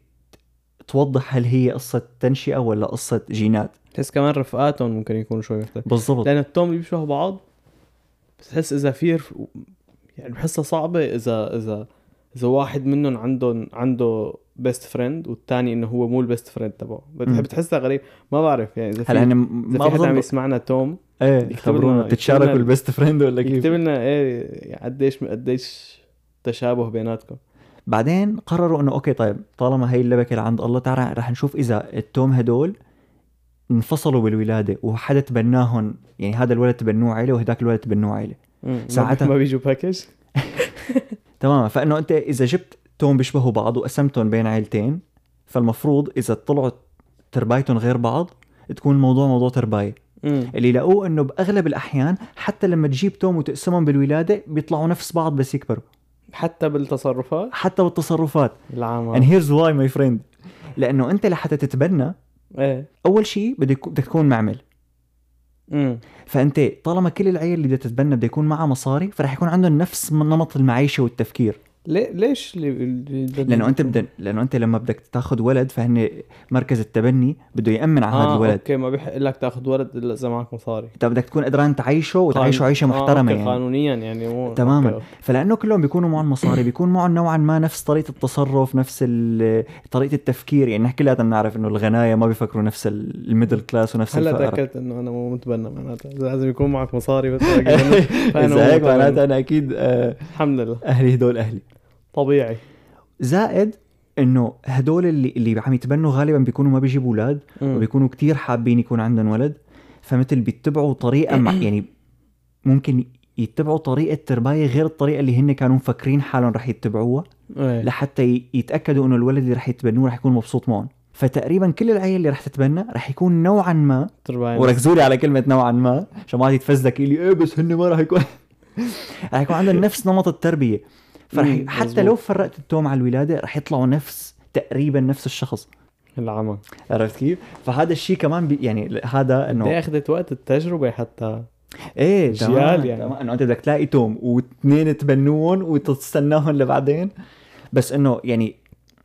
[SPEAKER 2] توضح هل هي قصه تنشئه ولا قصه جينات
[SPEAKER 1] بتحس كمان رفقاتهم ممكن يكونوا شوي مختلفين
[SPEAKER 2] بالضبط
[SPEAKER 1] لان التوم اللي بيشبهوا بعض بتحس اذا في رف... يعني بحسها صعبه اذا اذا اذا واحد منهم عندهم عنده بيست فريند والثاني انه هو مو البيست فريند تبعه
[SPEAKER 2] مم.
[SPEAKER 1] بتحب تحسها غريب ما بعرف يعني اذا في
[SPEAKER 2] هلا انا
[SPEAKER 1] اذا
[SPEAKER 2] ما
[SPEAKER 1] في حدا عم
[SPEAKER 2] بظن
[SPEAKER 1] يسمعنا توم
[SPEAKER 2] ايه
[SPEAKER 1] يكتب
[SPEAKER 2] خبرونا
[SPEAKER 1] لنا-
[SPEAKER 2] بتتشاركوا
[SPEAKER 1] يكتب لنا-
[SPEAKER 2] البيست فريند ولا كيف
[SPEAKER 1] يكتب لنا ايه قديش قديش تشابه بيناتكم
[SPEAKER 2] بعدين قرروا انه اوكي طيب طالما هي اللبكه اللي عند الله تعالى رح نشوف اذا التوم هدول انفصلوا بالولاده وحدا تبناهم يعني هذا الولد تبنوه عيله وهداك الولد تبنوه عيله
[SPEAKER 1] مم. ما-
[SPEAKER 2] ساعتها-
[SPEAKER 1] ما بيجوا باكج
[SPEAKER 2] تماما فانه انت اذا جبت توم بيشبهوا بعض وقسمتهم بين عيلتين فالمفروض اذا طلعوا تربايتهم غير بعض تكون الموضوع موضوع تربايه
[SPEAKER 1] مم.
[SPEAKER 2] اللي لاقوه انه باغلب الاحيان حتى لما تجيب توم وتقسمهم بالولاده بيطلعوا نفس بعض بس يكبروا
[SPEAKER 1] حتى بالتصرفات يعني
[SPEAKER 2] حتى بالتصرفات
[SPEAKER 1] العامة
[SPEAKER 2] and here's why my friend لانه انت لحتى تتبنى
[SPEAKER 1] ايه
[SPEAKER 2] اول شيء بدك بدك تكون معمل
[SPEAKER 1] مم.
[SPEAKER 2] فانت طالما كل العيال اللي بدها تتبنى بده يكون معها مصاري فرح يكون عندهم نفس نمط المعيشه والتفكير
[SPEAKER 1] ليه ليش اللي- اللي-
[SPEAKER 2] لانه انت بدن لانه انت لما بدك تاخذ ولد فهن مركز التبني بده يامن على هذا
[SPEAKER 1] آه
[SPEAKER 2] الولد
[SPEAKER 1] اوكي ما بيحق لك تاخذ ولد الا اذا معك مصاري
[SPEAKER 2] انت بدك تكون قدران تعيشه وتعيشه
[SPEAKER 1] قانون-
[SPEAKER 2] عيشه
[SPEAKER 1] طيب. آه،
[SPEAKER 2] محترمه
[SPEAKER 1] أوكي،
[SPEAKER 2] يعني
[SPEAKER 1] قانونيا يعني مو
[SPEAKER 2] تماماً.
[SPEAKER 1] أوكي.
[SPEAKER 2] فلانه كلهم بيكونوا معهم مصاري بيكون معهم نوعا ما نفس طريقه التصرف نفس ال- طريقه التفكير يعني نحن كلياتنا بنعرف انه الغنايه ما بيفكروا نفس ال- الميدل كلاس ونفس
[SPEAKER 1] هلا
[SPEAKER 2] الفقراء
[SPEAKER 1] تاكدت انه انا مو متبنى معناتها لازم يكون معك مصاري بس يعني أنا- فأنا
[SPEAKER 2] اذا هيك
[SPEAKER 1] مو متبنى.
[SPEAKER 2] معناتها انا اكيد آه،
[SPEAKER 1] الحمد لله
[SPEAKER 2] اهلي هدول اهلي
[SPEAKER 1] طبيعي
[SPEAKER 2] زائد انه هدول اللي اللي عم يتبنوا غالبا بيكونوا ما بيجيبوا اولاد
[SPEAKER 1] مم.
[SPEAKER 2] وبيكونوا كتير حابين يكون عندهم ولد فمثل بيتبعوا طريقة مع يعني ممكن يتبعوا طريقة ترباية غير الطريقة اللي هن كانوا مفكرين حالهم رح يتبعوها
[SPEAKER 1] إيه.
[SPEAKER 2] لحتى ي- يتأكدوا انه الولد اللي رح يتبنوه رح يكون مبسوط معهم فتقريبا كل العيال اللي رح تتبنى رح يكون نوعا ما
[SPEAKER 1] ترباية
[SPEAKER 2] وركزوا لي على كلمة نوعا ما عشان ما حد يتفزلك يقول لي ايه بس هن ما رح يكون رح يكون عندهم نفس نمط التربية فرح ي-
[SPEAKER 1] مم،
[SPEAKER 2] حتى
[SPEAKER 1] مزبوط.
[SPEAKER 2] لو فرقت التوم على الولادة رح يطلعوا نفس تقريبا نفس الشخص
[SPEAKER 1] العمى
[SPEAKER 2] عرفت كيف؟ فهذا الشيء كمان بي يعني هذا
[SPEAKER 1] ليه
[SPEAKER 2] انه
[SPEAKER 1] اخذت وقت التجربه حتى
[SPEAKER 2] ايه
[SPEAKER 1] جيال
[SPEAKER 2] تمام
[SPEAKER 1] يعني.
[SPEAKER 2] تمام انه انت بدك تلاقي توم واثنين تبنون وتستناهم لبعدين بس انه يعني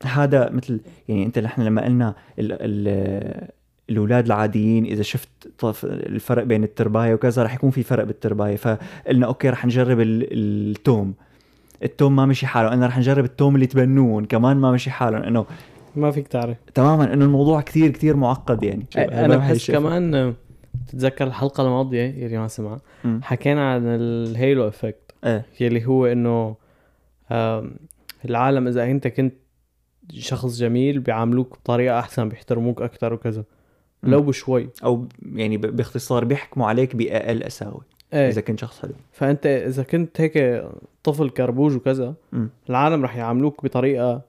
[SPEAKER 2] هذا مثل يعني انت نحن لما قلنا ال ال الاولاد العاديين اذا شفت طف- الفرق بين التربايه وكذا رح يكون في فرق بالتربايه فقلنا اوكي رح نجرب ال- التوم التوم ما مشي حاله انا رح نجرب التوم اللي تبنون كمان ما مشي حالهم انه
[SPEAKER 1] ما فيك تعرف
[SPEAKER 2] تماما انه الموضوع كثير كثير معقد يعني
[SPEAKER 1] انا بحس
[SPEAKER 2] شايفه.
[SPEAKER 1] كمان بتتذكر الحلقه الماضيه يلي ما سمعها
[SPEAKER 2] مم.
[SPEAKER 1] حكينا عن الهيلو افكت
[SPEAKER 2] ايه
[SPEAKER 1] يلي هو انه آم، العالم اذا انت كنت شخص جميل بيعاملوك بطريقه احسن بيحترموك اكثر وكذا
[SPEAKER 2] مم.
[SPEAKER 1] لو بشوي
[SPEAKER 2] او يعني ب- باختصار بيحكموا عليك باقل قساوه
[SPEAKER 1] ايه
[SPEAKER 2] اذا كنت شخص حلو
[SPEAKER 1] فانت اذا كنت هيك طفل كربوج وكذا
[SPEAKER 2] مم.
[SPEAKER 1] العالم رح يعاملوك بطريقه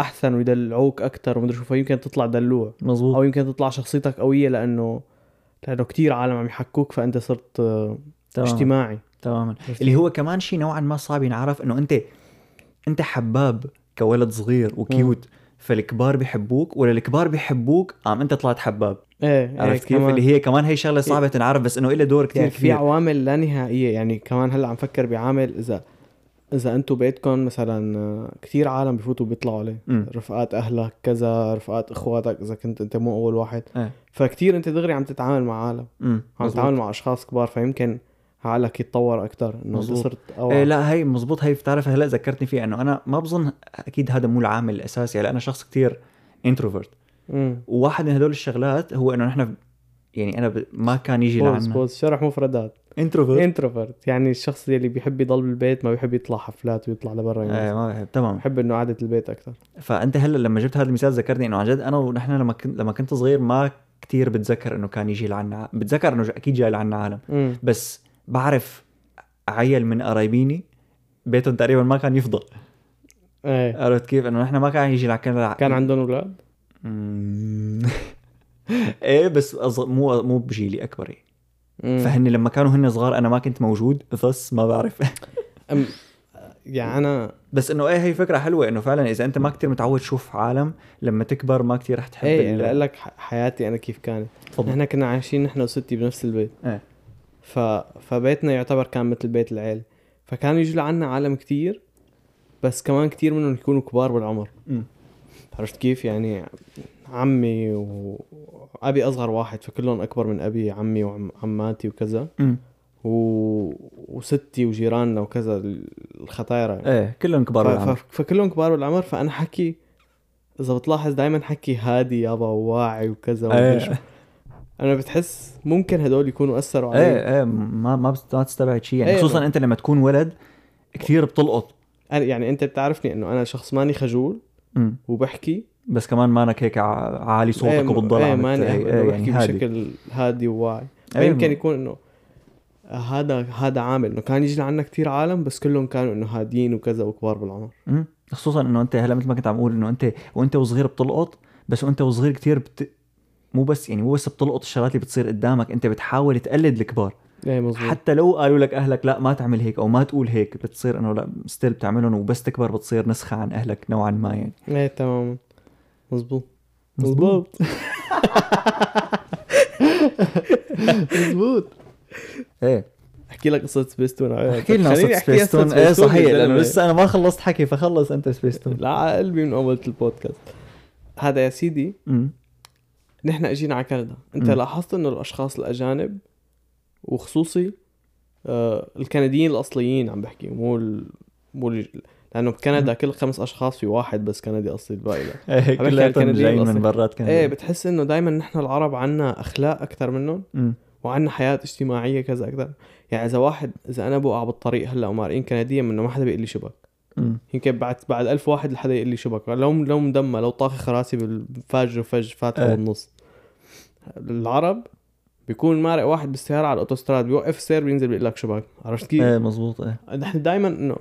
[SPEAKER 1] احسن ويدلعوك اكثر ومدري شو فيمكن تطلع دلوع
[SPEAKER 2] مزبوط
[SPEAKER 1] او يمكن تطلع شخصيتك قويه لانه لانه كتير عالم عم يحكوك فانت صرت آه،
[SPEAKER 2] تماما
[SPEAKER 1] اجتماعي
[SPEAKER 2] تماما اللي هو كمان شيء نوعا ما صعب ينعرف انه انت انت حباب كولد صغير وكيوت فالكبار بيحبوك ولا الكبار بيحبوك عم انت طلعت حباب
[SPEAKER 1] ايه إيه،
[SPEAKER 2] عرفت كيف
[SPEAKER 1] كمان. إيه.
[SPEAKER 2] اللي هي كمان هي شغله صعبه تنعرف بس انه إلها دور كثير
[SPEAKER 1] يعني في
[SPEAKER 2] كبير
[SPEAKER 1] عوامل لا نهائيه يعني كمان هلا عم فكر بعامل اذا اذا انتم بيتكم مثلا آه، كتير عالم بفوتوا بيطلعوا عليه
[SPEAKER 2] مم.
[SPEAKER 1] رفقات اهلك كذا رفقات اخواتك اذا كنت انت مو اول واحد
[SPEAKER 2] إيه.
[SPEAKER 1] فكتير انت دغري عم تتعامل مع عالم
[SPEAKER 2] امم
[SPEAKER 1] عم تتعامل مع اشخاص كبار فيمكن عقلك يتطور اكثر انه انت
[SPEAKER 2] مظبوط.
[SPEAKER 1] صرت اوعى
[SPEAKER 2] إيه لا هي مزبوط هي بتعرف هلا ذكرتني فيها انه انا ما بظن اكيد هذا مو العامل الاساسي هلا انا شخص كتير انتروفيرت
[SPEAKER 1] مم.
[SPEAKER 2] وواحد من هدول الشغلات هو انه نحن ب- يعني انا ب... ما كان يجي
[SPEAKER 1] بوز
[SPEAKER 2] لعنا
[SPEAKER 1] بوز شرح مفردات
[SPEAKER 2] انتروفيرت
[SPEAKER 1] انتروفرت يعني الشخص اللي بيحب يضل بالبيت ما بيحب يطلع حفلات ويطلع لبرا
[SPEAKER 2] ايه
[SPEAKER 1] يعني
[SPEAKER 2] ما بحب تمام
[SPEAKER 1] بحب انه قعده البيت اكثر
[SPEAKER 2] فانت هلا لما جبت هذا المثال ذكرني انه عن جد انا ونحن لما كنت لما كنت صغير ما كتير بتذكر انه كان يجي لعنا بتذكر انه ج- اكيد جاي لعنا عالم
[SPEAKER 1] مم.
[SPEAKER 2] بس بعرف عيل من قرايبيني بيتهم تقريبا ما كان يفضى
[SPEAKER 1] ايه
[SPEAKER 2] عرفت كيف انه نحن ما كان يجي لعنا
[SPEAKER 1] كان عندهم اولاد
[SPEAKER 2] مم. ايه بس أص... مو مو بجيلي اكبر إيه.
[SPEAKER 1] مم.
[SPEAKER 2] فهن لما كانوا هن صغار انا ما كنت موجود بس ما بعرف
[SPEAKER 1] أم... يعني انا
[SPEAKER 2] بس انه ايه هي فكره حلوه انه فعلا اذا انت ما كتير متعود تشوف عالم لما تكبر ما كتير رح تحب
[SPEAKER 1] ايه
[SPEAKER 2] ال-
[SPEAKER 1] يعني اقول لك ح- حياتي انا كيف كانت
[SPEAKER 2] تفضل
[SPEAKER 1] نحن كنا عايشين نحن وستي بنفس البيت
[SPEAKER 2] إيه.
[SPEAKER 1] ف... فبيتنا يعتبر كان مثل بيت العيلة فكانوا يجوا لعنا عالم كتير بس كمان كتير منهم يكونوا كبار بالعمر
[SPEAKER 2] أمم.
[SPEAKER 1] عرفت كيف يعني عمي و- وابي اصغر واحد فكلهم اكبر من ابي عمي وعماتي وكذا
[SPEAKER 2] أمم.
[SPEAKER 1] و... وستي وجيراننا وكذا ال- الختايرة يعني.
[SPEAKER 2] ايه كلهم كبار
[SPEAKER 1] ف-
[SPEAKER 2] بالعمر
[SPEAKER 1] ف- فكلهم كبار بالعمر فانا حكي اذا بتلاحظ دائما حكي هادي يابا وواعي وكذا ومدري شو.
[SPEAKER 2] ايه
[SPEAKER 1] انا بتحس ممكن هدول يكونوا اثروا علي
[SPEAKER 2] ايه ايه ما ما بت- ما تستبعد شيء يعني
[SPEAKER 1] إيه.
[SPEAKER 2] خصوصا انت لما تكون ولد كثير بتلقط
[SPEAKER 1] أنا- يعني انت بتعرفني انه انا شخص ماني خجول
[SPEAKER 2] أمم.
[SPEAKER 1] وبحكي
[SPEAKER 2] بس كمان مانك هيك ع- عالي صوتك
[SPEAKER 1] إيه،
[SPEAKER 2] وبتضل
[SPEAKER 1] إيه،
[SPEAKER 2] عم
[SPEAKER 1] ماني
[SPEAKER 2] بت-
[SPEAKER 1] إنه
[SPEAKER 2] إيه،
[SPEAKER 1] بحكي
[SPEAKER 2] هادي.
[SPEAKER 1] بشكل هادي وواعي
[SPEAKER 2] إيه،
[SPEAKER 1] يمكن
[SPEAKER 2] م-
[SPEAKER 1] يكون انه هذا هذا عامل انه كان يجي لعنا كثير عالم بس كلهم كانوا انه هاديين وكذا وكبار بالعمر
[SPEAKER 2] مم. خصوصا انه انت هلا مثل ما كنت عم اقول انه انت وانت وصغير بتلقط بس وانت وصغير كتير بت... مو بس يعني مو بس بتلقط الشغلات اللي بتصير قدامك انت بتحاول تقلد الكبار
[SPEAKER 1] ايه مظبوط
[SPEAKER 2] حتى لو قالوا لك اهلك لا ما تعمل هيك او ما تقول هيك بتصير انه لا ستيل بتعملهم وبس تكبر بتصير نسخه عن اهلك نوعا ما يعني
[SPEAKER 1] ايه تماما مظبوط
[SPEAKER 2] مظبوط.
[SPEAKER 1] مظبوط مظبوط
[SPEAKER 2] ايه
[SPEAKER 1] احكي لك قصه سبيستون
[SPEAKER 2] احكي لنا
[SPEAKER 1] آه، خليني
[SPEAKER 2] قصه
[SPEAKER 1] أحكيها
[SPEAKER 2] سبيستون
[SPEAKER 1] قصة
[SPEAKER 2] ايه صحيح
[SPEAKER 1] يا
[SPEAKER 2] لانه
[SPEAKER 1] زلمة.
[SPEAKER 2] لسه انا ما خلصت حكي فخلص انت سبيستون
[SPEAKER 1] لا على قلبي من اول البودكاست هذا يا سيدي
[SPEAKER 2] مم.
[SPEAKER 1] نحن اجينا على كندا انت
[SPEAKER 2] مم.
[SPEAKER 1] لاحظت انه الاشخاص الاجانب وخصوصي آه الكنديين الاصليين عم بحكي مو ال... مو ال... لانه بكندا كل خمس اشخاص في واحد بس كندي اصلي الباقي لا
[SPEAKER 2] ايه
[SPEAKER 1] على
[SPEAKER 2] كلياتهم
[SPEAKER 1] الكنديين
[SPEAKER 2] جايين
[SPEAKER 1] الأصل.
[SPEAKER 2] من برات كندا
[SPEAKER 1] ايه بتحس انه دائما نحن العرب عنا اخلاق اكثر منهم
[SPEAKER 2] مم.
[SPEAKER 1] وعنا حياه اجتماعيه كذا اكثر يعني اذا واحد اذا انا بوقع بالطريق هلا ومارقين كنديا منه ما حدا بيقول لي شبك
[SPEAKER 2] مم.
[SPEAKER 1] يمكن بعد بعد ألف واحد لحدا يقول لي شبك لو لو مدمى لو طاخخ راسي بالفجر فج فاتحه
[SPEAKER 2] إيه.
[SPEAKER 1] بالنص العرب بيكون مارق واحد بالسياره على الاوتوستراد بيوقف السير بينزل بيقول لك شبك عرفت كيف؟
[SPEAKER 2] ايه مزبوط ايه
[SPEAKER 1] نحن دائما انه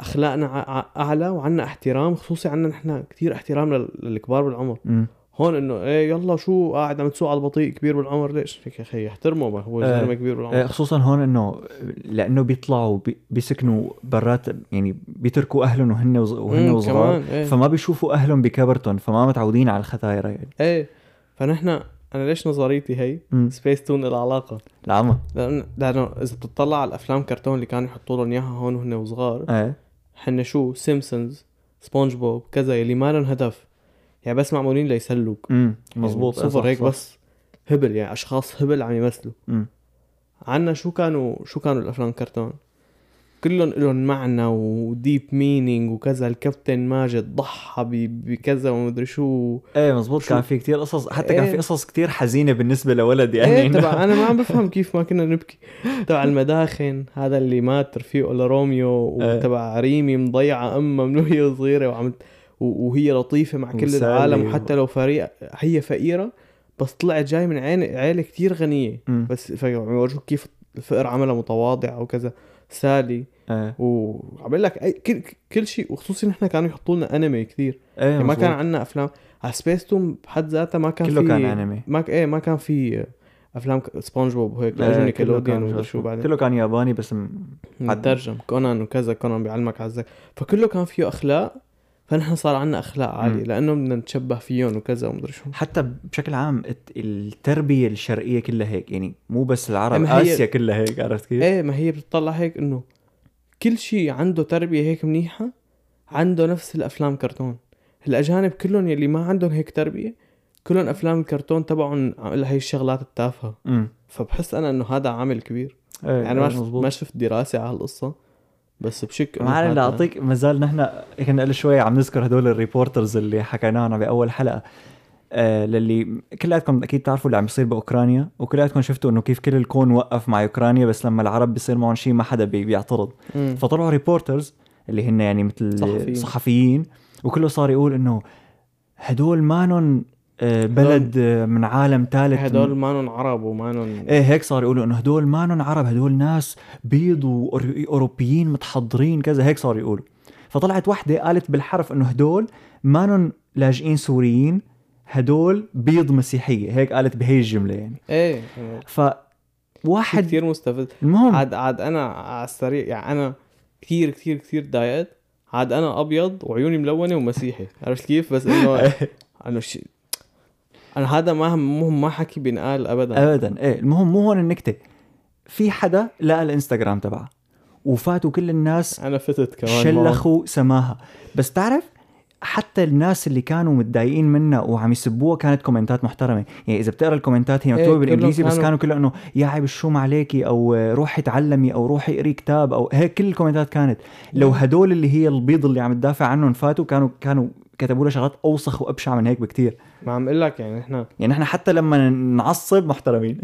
[SPEAKER 1] اخلاقنا ع- ع- اعلى وعنا احترام خصوصي عنا نحن كثير احترام لل- للكبار بالعمر
[SPEAKER 2] مم.
[SPEAKER 1] هون انه ايه يلا شو قاعد عم تسوق على البطيء كبير بالعمر ليش؟ لك يا اخي احترمه بقى، هو
[SPEAKER 2] إيه.
[SPEAKER 1] زلمه كبير بالعمر
[SPEAKER 2] آه، خصوصا هون انه لانه بيطلعوا بي- بيسكنوا برات يعني بيتركوا اهلهم وهن وز- وهن
[SPEAKER 1] مم،
[SPEAKER 2] وصغار
[SPEAKER 1] كمان ايه.
[SPEAKER 2] فما بيشوفوا اهلهم بكبرتهم فما متعودين على الختايره يعني
[SPEAKER 1] ايه فنحن انا ليش نظريتي هي
[SPEAKER 2] مم.
[SPEAKER 1] سبيس تون العلاقه
[SPEAKER 2] العمى
[SPEAKER 1] لانه لانه اذا بتطلع على الافلام كرتون اللي كانوا يحطوا لهم اياها هون وهن وصغار
[SPEAKER 2] ايه
[SPEAKER 1] حنا شو سيمبسونز سبونج بوب كذا يلي ما لهم هدف يعني بس معمولين ليسلوك
[SPEAKER 2] امم مزبوط
[SPEAKER 1] يعني
[SPEAKER 2] إيه،
[SPEAKER 1] صفر
[SPEAKER 2] صح،
[SPEAKER 1] هيك
[SPEAKER 2] صح.
[SPEAKER 1] بس هبل يعني اشخاص هبل عم يمثلوا
[SPEAKER 2] مم.
[SPEAKER 1] عنا شو كانوا شو كانوا الافلام كرتون كلهم لهم معنى وديب مينينج وكذا الكابتن ماجد ضحى ب- بكذا ومدري شو
[SPEAKER 2] ايه مزبوط
[SPEAKER 1] شو-
[SPEAKER 2] كان في كتير قصص حتى كان
[SPEAKER 1] إيه.
[SPEAKER 2] في قصص كتير حزينه بالنسبه لولد يعني
[SPEAKER 1] ايه
[SPEAKER 2] إنه-
[SPEAKER 1] تبع انا ما عم بفهم كيف ما كنا نبكي تبع المداخن هذا اللي مات رفيقه لروميو
[SPEAKER 2] إيه.
[SPEAKER 1] وتبع ريمي مضيعه امها من وهي صغيره وعم ت- و- وهي لطيفه مع كل
[SPEAKER 2] وسالي
[SPEAKER 1] العالم
[SPEAKER 2] و-
[SPEAKER 1] وحتى لو فريق هي فقيره بس طلعت جاي من عين عيله كتير غنيه
[SPEAKER 2] مم.
[SPEAKER 1] بس فيورجوك كيف الفقر عمله متواضع او كذا سالي
[SPEAKER 2] ايه
[SPEAKER 1] وعمل لك أي كل, كل شيء وخصوصا نحن كانوا يحطوا لنا انمي كثير
[SPEAKER 2] ايه
[SPEAKER 1] يعني ما كان
[SPEAKER 2] مزبوط.
[SPEAKER 1] عندنا افلام على سبيس تون بحد ذاتها ما كان
[SPEAKER 2] كله
[SPEAKER 1] في
[SPEAKER 2] كان انمي
[SPEAKER 1] ما ك... ايه ما كان في افلام ك- سبونج بوب وهيك لا
[SPEAKER 2] إيه،
[SPEAKER 1] اجوا
[SPEAKER 2] كله
[SPEAKER 1] نيكلوديان
[SPEAKER 2] كان
[SPEAKER 1] ولا
[SPEAKER 2] شو
[SPEAKER 1] شو
[SPEAKER 2] اسمه.
[SPEAKER 1] بعدين
[SPEAKER 2] كله كان ياباني بس م-
[SPEAKER 1] مترجم كونان وكذا كونان بيعلمك على الذكاء فكله كان فيه اخلاق فنحن صار عندنا اخلاق عاليه
[SPEAKER 2] مم.
[SPEAKER 1] لانه بدنا نتشبه فيهم وكذا ومدري شو
[SPEAKER 2] حتى بشكل عام الت- التربيه الشرقيه كلها هيك يعني مو بس العرب
[SPEAKER 1] أما هي-
[SPEAKER 2] اسيا كلها هيك عرفت كيف؟
[SPEAKER 1] ايه ما هي بتطلع هيك انه كل شيء عنده تربيه هيك منيحه عنده نفس الافلام كرتون الاجانب كلهم يلي ما عندهم هيك تربيه كلهم افلام الكرتون تبعهم لهي الشغلات التافهه
[SPEAKER 2] امم
[SPEAKER 1] فبحس انا انه هذا عامل كبير
[SPEAKER 2] ايه
[SPEAKER 1] يعني ما
[SPEAKER 2] إيه،
[SPEAKER 1] شفت
[SPEAKER 2] مزبوط.
[SPEAKER 1] ما شفت دراسه على هالقصه بس بشك إنه
[SPEAKER 2] ما علينا
[SPEAKER 1] هذا-
[SPEAKER 2] اعطيك ما زال نحن كنا قبل شوي عم نذكر هدول الريبورترز اللي حكينا عنها باول حلقه آه للي كلياتكم اكيد بتعرفوا اللي عم يصير باوكرانيا وكلياتكم شفتوا انه كيف كل الكون وقف مع اوكرانيا بس لما العرب بيصير معهم شيء ما حدا بي- بيعترض
[SPEAKER 1] مم.
[SPEAKER 2] فطلعوا ريبورترز اللي هن يعني مثل
[SPEAKER 1] صحفيين.
[SPEAKER 2] صحفيين, صحفيين وكله صار يقول انه هدول مانن آه بلد آه من عالم ثالث
[SPEAKER 1] هدول مانن عرب ومانن
[SPEAKER 2] ايه هيك صار يقولوا انه هدول مانن عرب هدول ناس بيض واوروبيين متحضرين كذا هيك صار يقولوا فطلعت وحده قالت بالحرف انه هدول مانن لاجئين سوريين هدول بيض مسيحيه هيك قالت بهي الجمله يعني
[SPEAKER 1] ايه
[SPEAKER 2] ف
[SPEAKER 1] حد
[SPEAKER 2] واحد
[SPEAKER 1] كثير مستفز
[SPEAKER 2] المهم
[SPEAKER 1] عاد عاد انا على السريع يعني انا كثير كثير كثير ضايقت عاد انا ابيض وعيوني ملونه ومسيحي عرفت كيف بس انه انه شيء انا هذا ما هم ما حكي بينقال ابدا
[SPEAKER 2] ابدا ايه المهم مو هون النكته في حدا لقى الانستغرام تبعها وفاتوا كل الناس
[SPEAKER 1] انا فتت كمان شلخ
[SPEAKER 2] شلخوا سماها بس تعرف حتى الناس اللي كانوا متضايقين منها وعم يسبوها كانت كومنتات محترمه يعني اذا بتقرا الكومنتات هي مكتوبه
[SPEAKER 1] إيه، كلهم
[SPEAKER 2] بالانجليزي بس
[SPEAKER 1] كانوا-
[SPEAKER 2] كانوا كله انه يا عيب الشوم عليكي او آه، روحي تعلمي او روحي اقري كتاب او هيك كل الكومنتات كانت
[SPEAKER 1] إيه.
[SPEAKER 2] لو هدول اللي هي البيض اللي عم تدافع عنهم فاتوا كانوا كانوا كتبوا لها شغلات اوسخ وابشع من هيك بكتير
[SPEAKER 1] ما عم اقول لك يعني احنا
[SPEAKER 2] يعني نحن حتى لما نعصب محترمين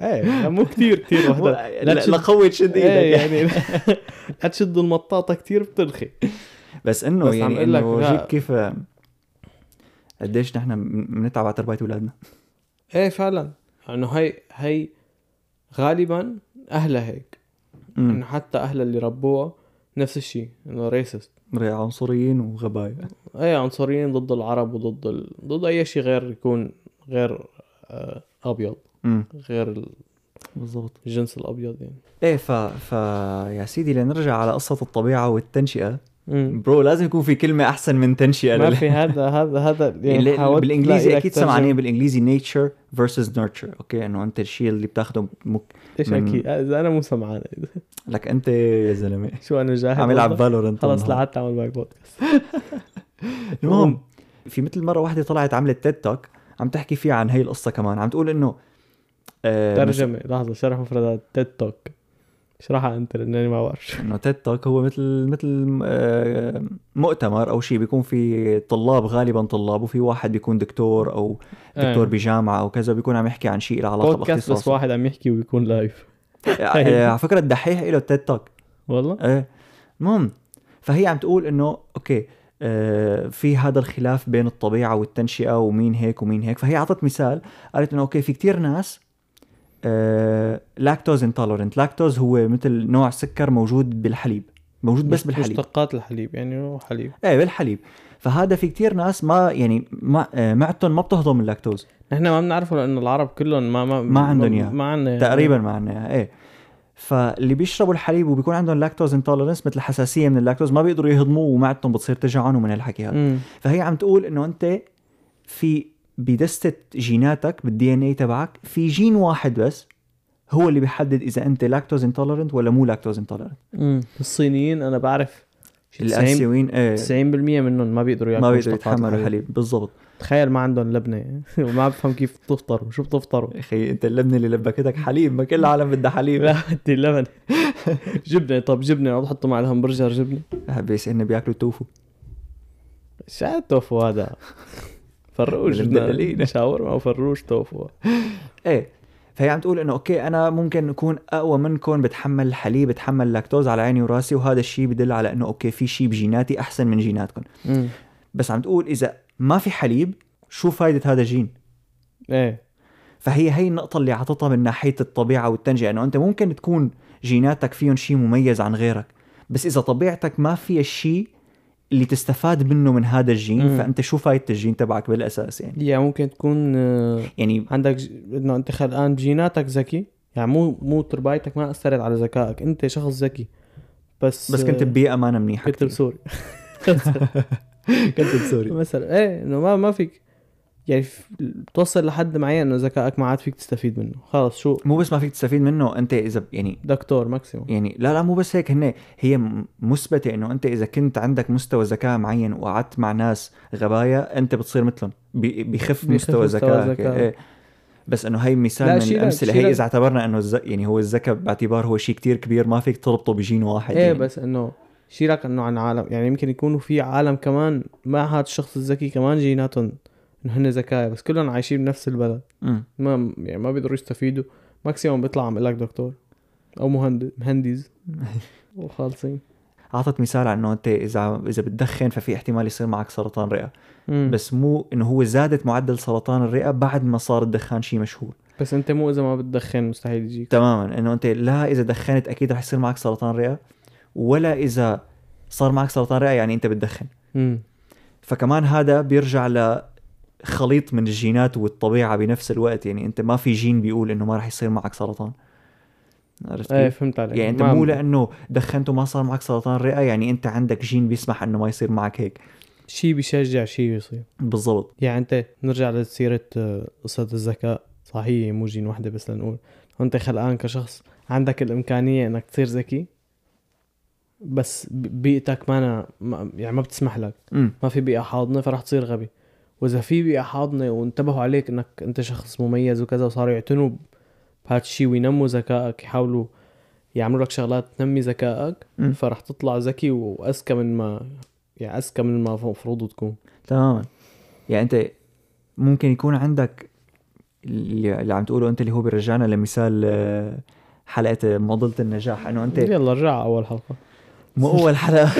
[SPEAKER 1] ايه مو كثير كثير وحده لا تشد-
[SPEAKER 2] لقوي تشد
[SPEAKER 1] ايه
[SPEAKER 2] ايدك
[SPEAKER 1] يعني لا تشدوا المطاطه كثير بترخي
[SPEAKER 2] بس انه
[SPEAKER 1] بس عم
[SPEAKER 2] يعني
[SPEAKER 1] أقول لك
[SPEAKER 2] انه
[SPEAKER 1] لا.
[SPEAKER 2] جيب كيف آه، قديش نحن بنتعب على تربيه اولادنا
[SPEAKER 1] ايه فعلا انه هي هي غالبا اهلها هيك انه حتى اهلها اللي ربوها نفس الشيء انه ريسست
[SPEAKER 2] عنصريين وغبايا
[SPEAKER 1] اي إيه، عنصريين ضد العرب وضد ال... ضد اي شيء غير يكون غير آه، ابيض
[SPEAKER 2] امم
[SPEAKER 1] غير
[SPEAKER 2] بالضبط
[SPEAKER 1] الجنس الابيض يعني
[SPEAKER 2] ايه ف... ف يا سيدي لنرجع على قصه الطبيعه والتنشئه
[SPEAKER 1] مم.
[SPEAKER 2] برو لازم يكون في كلمه احسن من تنشئه
[SPEAKER 1] ما
[SPEAKER 2] لل-
[SPEAKER 1] في هذا هذا هذا يعني
[SPEAKER 2] اللي-
[SPEAKER 1] حاولت ألاقي
[SPEAKER 2] بالانجليزي
[SPEAKER 1] لك
[SPEAKER 2] اكيد
[SPEAKER 1] ترجمة.
[SPEAKER 2] سمعانين بالانجليزي نيتشر فيرسز نيرتشر اوكي انه انت الشيء اللي بتاخده مك...
[SPEAKER 1] ايش
[SPEAKER 2] من-
[SPEAKER 1] اكيد اذا انا مو سمعان
[SPEAKER 2] لك انت يا زلمه
[SPEAKER 1] شو انا جاهل
[SPEAKER 2] عم يلعب
[SPEAKER 1] والله؟
[SPEAKER 2] فالورنت
[SPEAKER 1] خلص لعدت اعمل معك بودكاست
[SPEAKER 2] المهم في مثل مره واحده طلعت عملت تيد توك عم تحكي فيه عن هي القصه كمان عم تقول انه آه،
[SPEAKER 1] ترجمه لحظه شرح مفردات تيد توك اشرحها انت لانني ما بعرف شو.
[SPEAKER 2] انه تيد توك هو مثل مثل آه، مؤتمر او شيء بيكون في طلاب غالبا طلاب وفي واحد بيكون دكتور او دكتور
[SPEAKER 1] آه.
[SPEAKER 2] بجامعه او كذا بيكون عم يحكي عن شيء له علاقه
[SPEAKER 1] بودكاست بس
[SPEAKER 2] باختصاص
[SPEAKER 1] واحد عم يحكي ويكون لايف
[SPEAKER 2] آه، على فكره الدحيح له تيد توك
[SPEAKER 1] والله
[SPEAKER 2] ايه المهم فهي عم تقول انه اوكي آه، في هذا الخلاف بين الطبيعه والتنشئه ومين هيك ومين هيك فهي اعطت مثال قالت انه اوكي في كتير ناس آه، لاكتوز انتولرنت لاكتوز هو مثل نوع سكر موجود بالحليب موجود بس بالحليب
[SPEAKER 1] مشتقات الحليب يعني هو حليب
[SPEAKER 2] ايه بالحليب فهذا في كتير ناس ما يعني ما آه، معدتهم ما بتهضم اللاكتوز
[SPEAKER 1] نحن ما بنعرفه لانه العرب كلهم ما ما
[SPEAKER 2] ما عندن إياه.
[SPEAKER 1] ما عندنا إياه.
[SPEAKER 2] تقريبا ما عنا إياها، ايه فاللي بيشربوا الحليب وبيكون عندهم لاكتوز انتولرنس مثل حساسيه من اللاكتوز ما بيقدروا يهضموه ومعدتهم بتصير تجعن ومن هالحكي هذا
[SPEAKER 1] مم.
[SPEAKER 2] فهي عم تقول انه انت في بدستة جيناتك بالدي ان اي تبعك في جين واحد بس هو اللي بيحدد اذا انت لاكتوز انتولرنت ولا مو لاكتوز انتولرنت
[SPEAKER 1] مم. الصينيين انا بعرف شي 90
[SPEAKER 2] الاسيويين ايه
[SPEAKER 1] 90% منهم ما بيقدروا ياكلوا
[SPEAKER 2] ما بيقدروا
[SPEAKER 1] مشتقات
[SPEAKER 2] يتحملوا الحليب بالضبط
[SPEAKER 1] تخيل ما عندهم لبنه وما بفهم كيف بتفطروا شو بتفطروا
[SPEAKER 2] اخي انت اللبنه اللي لبكتك حليب ما كل العالم بدها حليب
[SPEAKER 1] لا بدي لبن جبنه طب جبنه بحطوا مع الهمبرجر جبنه
[SPEAKER 2] بس انه بياكلوا توفو
[SPEAKER 1] شو التوفو هذا فروش
[SPEAKER 2] من المدللين.
[SPEAKER 1] شاورما وفروش توفو
[SPEAKER 2] ايه فهي عم تقول انه اوكي انا ممكن اكون اقوى منكم بتحمل الحليب بتحمل اللاكتوز على عيني وراسي وهذا الشيء بدل على انه اوكي في شيء بجيناتي احسن من جيناتكم
[SPEAKER 1] مم.
[SPEAKER 2] بس عم تقول اذا ما في حليب شو فائده هذا الجين
[SPEAKER 1] ايه
[SPEAKER 2] فهي هي النقطة اللي عطتها من ناحية الطبيعة والتنجئة انه انت ممكن تكون جيناتك فيهم شيء مميز عن غيرك بس اذا طبيعتك ما فيها الشيء اللي تستفاد منه من هذا الجين
[SPEAKER 1] مم.
[SPEAKER 2] فانت شو فايدة الجين تبعك بالاساس يعني
[SPEAKER 1] يعني ممكن تكون آه،
[SPEAKER 2] يعني
[SPEAKER 1] عندك ج- انه انت خلقان بجيناتك ذكي يعني مو مو تربايتك ما اثرت على ذكائك انت شخص ذكي بس
[SPEAKER 2] بس كنت
[SPEAKER 1] آه،
[SPEAKER 2] ببيئة ما أنا منيحة
[SPEAKER 1] كنت
[SPEAKER 2] كتير.
[SPEAKER 1] بسوري
[SPEAKER 2] كنت بسوريا
[SPEAKER 1] مثلا ايه انه ما ما فيك يعني ف- بتوصل لحد معين انه ذكائك ما عاد فيك تستفيد منه خلص شو
[SPEAKER 2] مو بس ما فيك تستفيد منه انت اذا يعني
[SPEAKER 1] دكتور ماكسيموم
[SPEAKER 2] يعني لا لا مو بس هيك هن هي م- مثبته انه انت اذا كنت عندك مستوى ذكاء معين وقعدت مع ناس غبايا انت بتصير مثلهم بي- بيخف
[SPEAKER 1] بيخف
[SPEAKER 2] مستوى
[SPEAKER 1] مستوى
[SPEAKER 2] ذكائك
[SPEAKER 1] ذكائك.
[SPEAKER 2] إيه. بس انه هي مثال
[SPEAKER 1] لا،
[SPEAKER 2] من
[SPEAKER 1] شيلك-
[SPEAKER 2] الامثله
[SPEAKER 1] شيلك.
[SPEAKER 2] هي اذا اعتبرنا انه الز... يعني هو الذكاء باعتبار هو شيء كتير كبير ما فيك تربطه بجين واحد
[SPEAKER 1] ايه
[SPEAKER 2] يعني.
[SPEAKER 1] بس انه شيلك انه عن عالم يعني يمكن يكونوا في عالم كمان مع هذا الشخص الذكي كمان جيناتهم انه هن ذكايا بس كلهم عايشين بنفس البلد
[SPEAKER 2] مم.
[SPEAKER 1] ما يعني ما بيقدروا يستفيدوا ماكسيموم بيطلع عم لك دكتور او مهندس مهندس وخالصين
[SPEAKER 2] اعطت مثال على انه انت اذا اذا بتدخن ففي احتمال يصير معك سرطان رئه
[SPEAKER 1] مم.
[SPEAKER 2] بس مو انه هو زادت معدل سرطان الرئه بعد ما صار الدخان شيء مشهور
[SPEAKER 1] بس انت مو اذا ما بتدخن مستحيل يجيك
[SPEAKER 2] تماما انه انت لا اذا دخنت اكيد رح يصير معك سرطان رئه ولا اذا صار معك سرطان رئه يعني انت بتدخن
[SPEAKER 1] مم.
[SPEAKER 2] فكمان هذا بيرجع لخليط من الجينات والطبيعه بنفس الوقت يعني انت ما في جين بيقول انه ما رح يصير معك سرطان عرفت
[SPEAKER 1] ايه
[SPEAKER 2] كيف؟
[SPEAKER 1] فهمت عليك
[SPEAKER 2] يعني انت
[SPEAKER 1] ما-
[SPEAKER 2] مو لانه دخنت وما صار معك سرطان رئه يعني انت عندك جين بيسمح انه ما يصير معك هيك
[SPEAKER 1] شي بيشجع شي بيصير
[SPEAKER 2] بالضبط
[SPEAKER 1] يعني انت نرجع لسيرة آه، قصة الذكاء صح هي مو جين وحدة بس لنقول انت خلقان كشخص عندك الامكانية انك تصير ذكي بس ب- بيئتك ما أنا ما يعني ما بتسمح لك
[SPEAKER 2] امم
[SPEAKER 1] ما في بيئة حاضنة فرح تصير غبي واذا في بيئة حاضنة وانتبهوا عليك انك انت شخص مميز وكذا وصاروا يعتنوا بهذا الشيء وينموا ذكائك يحاولوا يعملوا لك شغلات تنمي ذكائك
[SPEAKER 2] مم.
[SPEAKER 1] فرح تطلع ذكي واذكى من ما يعني اذكى من ما المفروض تكون
[SPEAKER 2] تماما يعني انت ممكن يكون عندك اللي اللي عم تقوله انت اللي هو بيرجعنا لمثال آه، حلقه معضله النجاح انه انت
[SPEAKER 1] يلا رجع اول حلقة
[SPEAKER 2] مو اول حلقه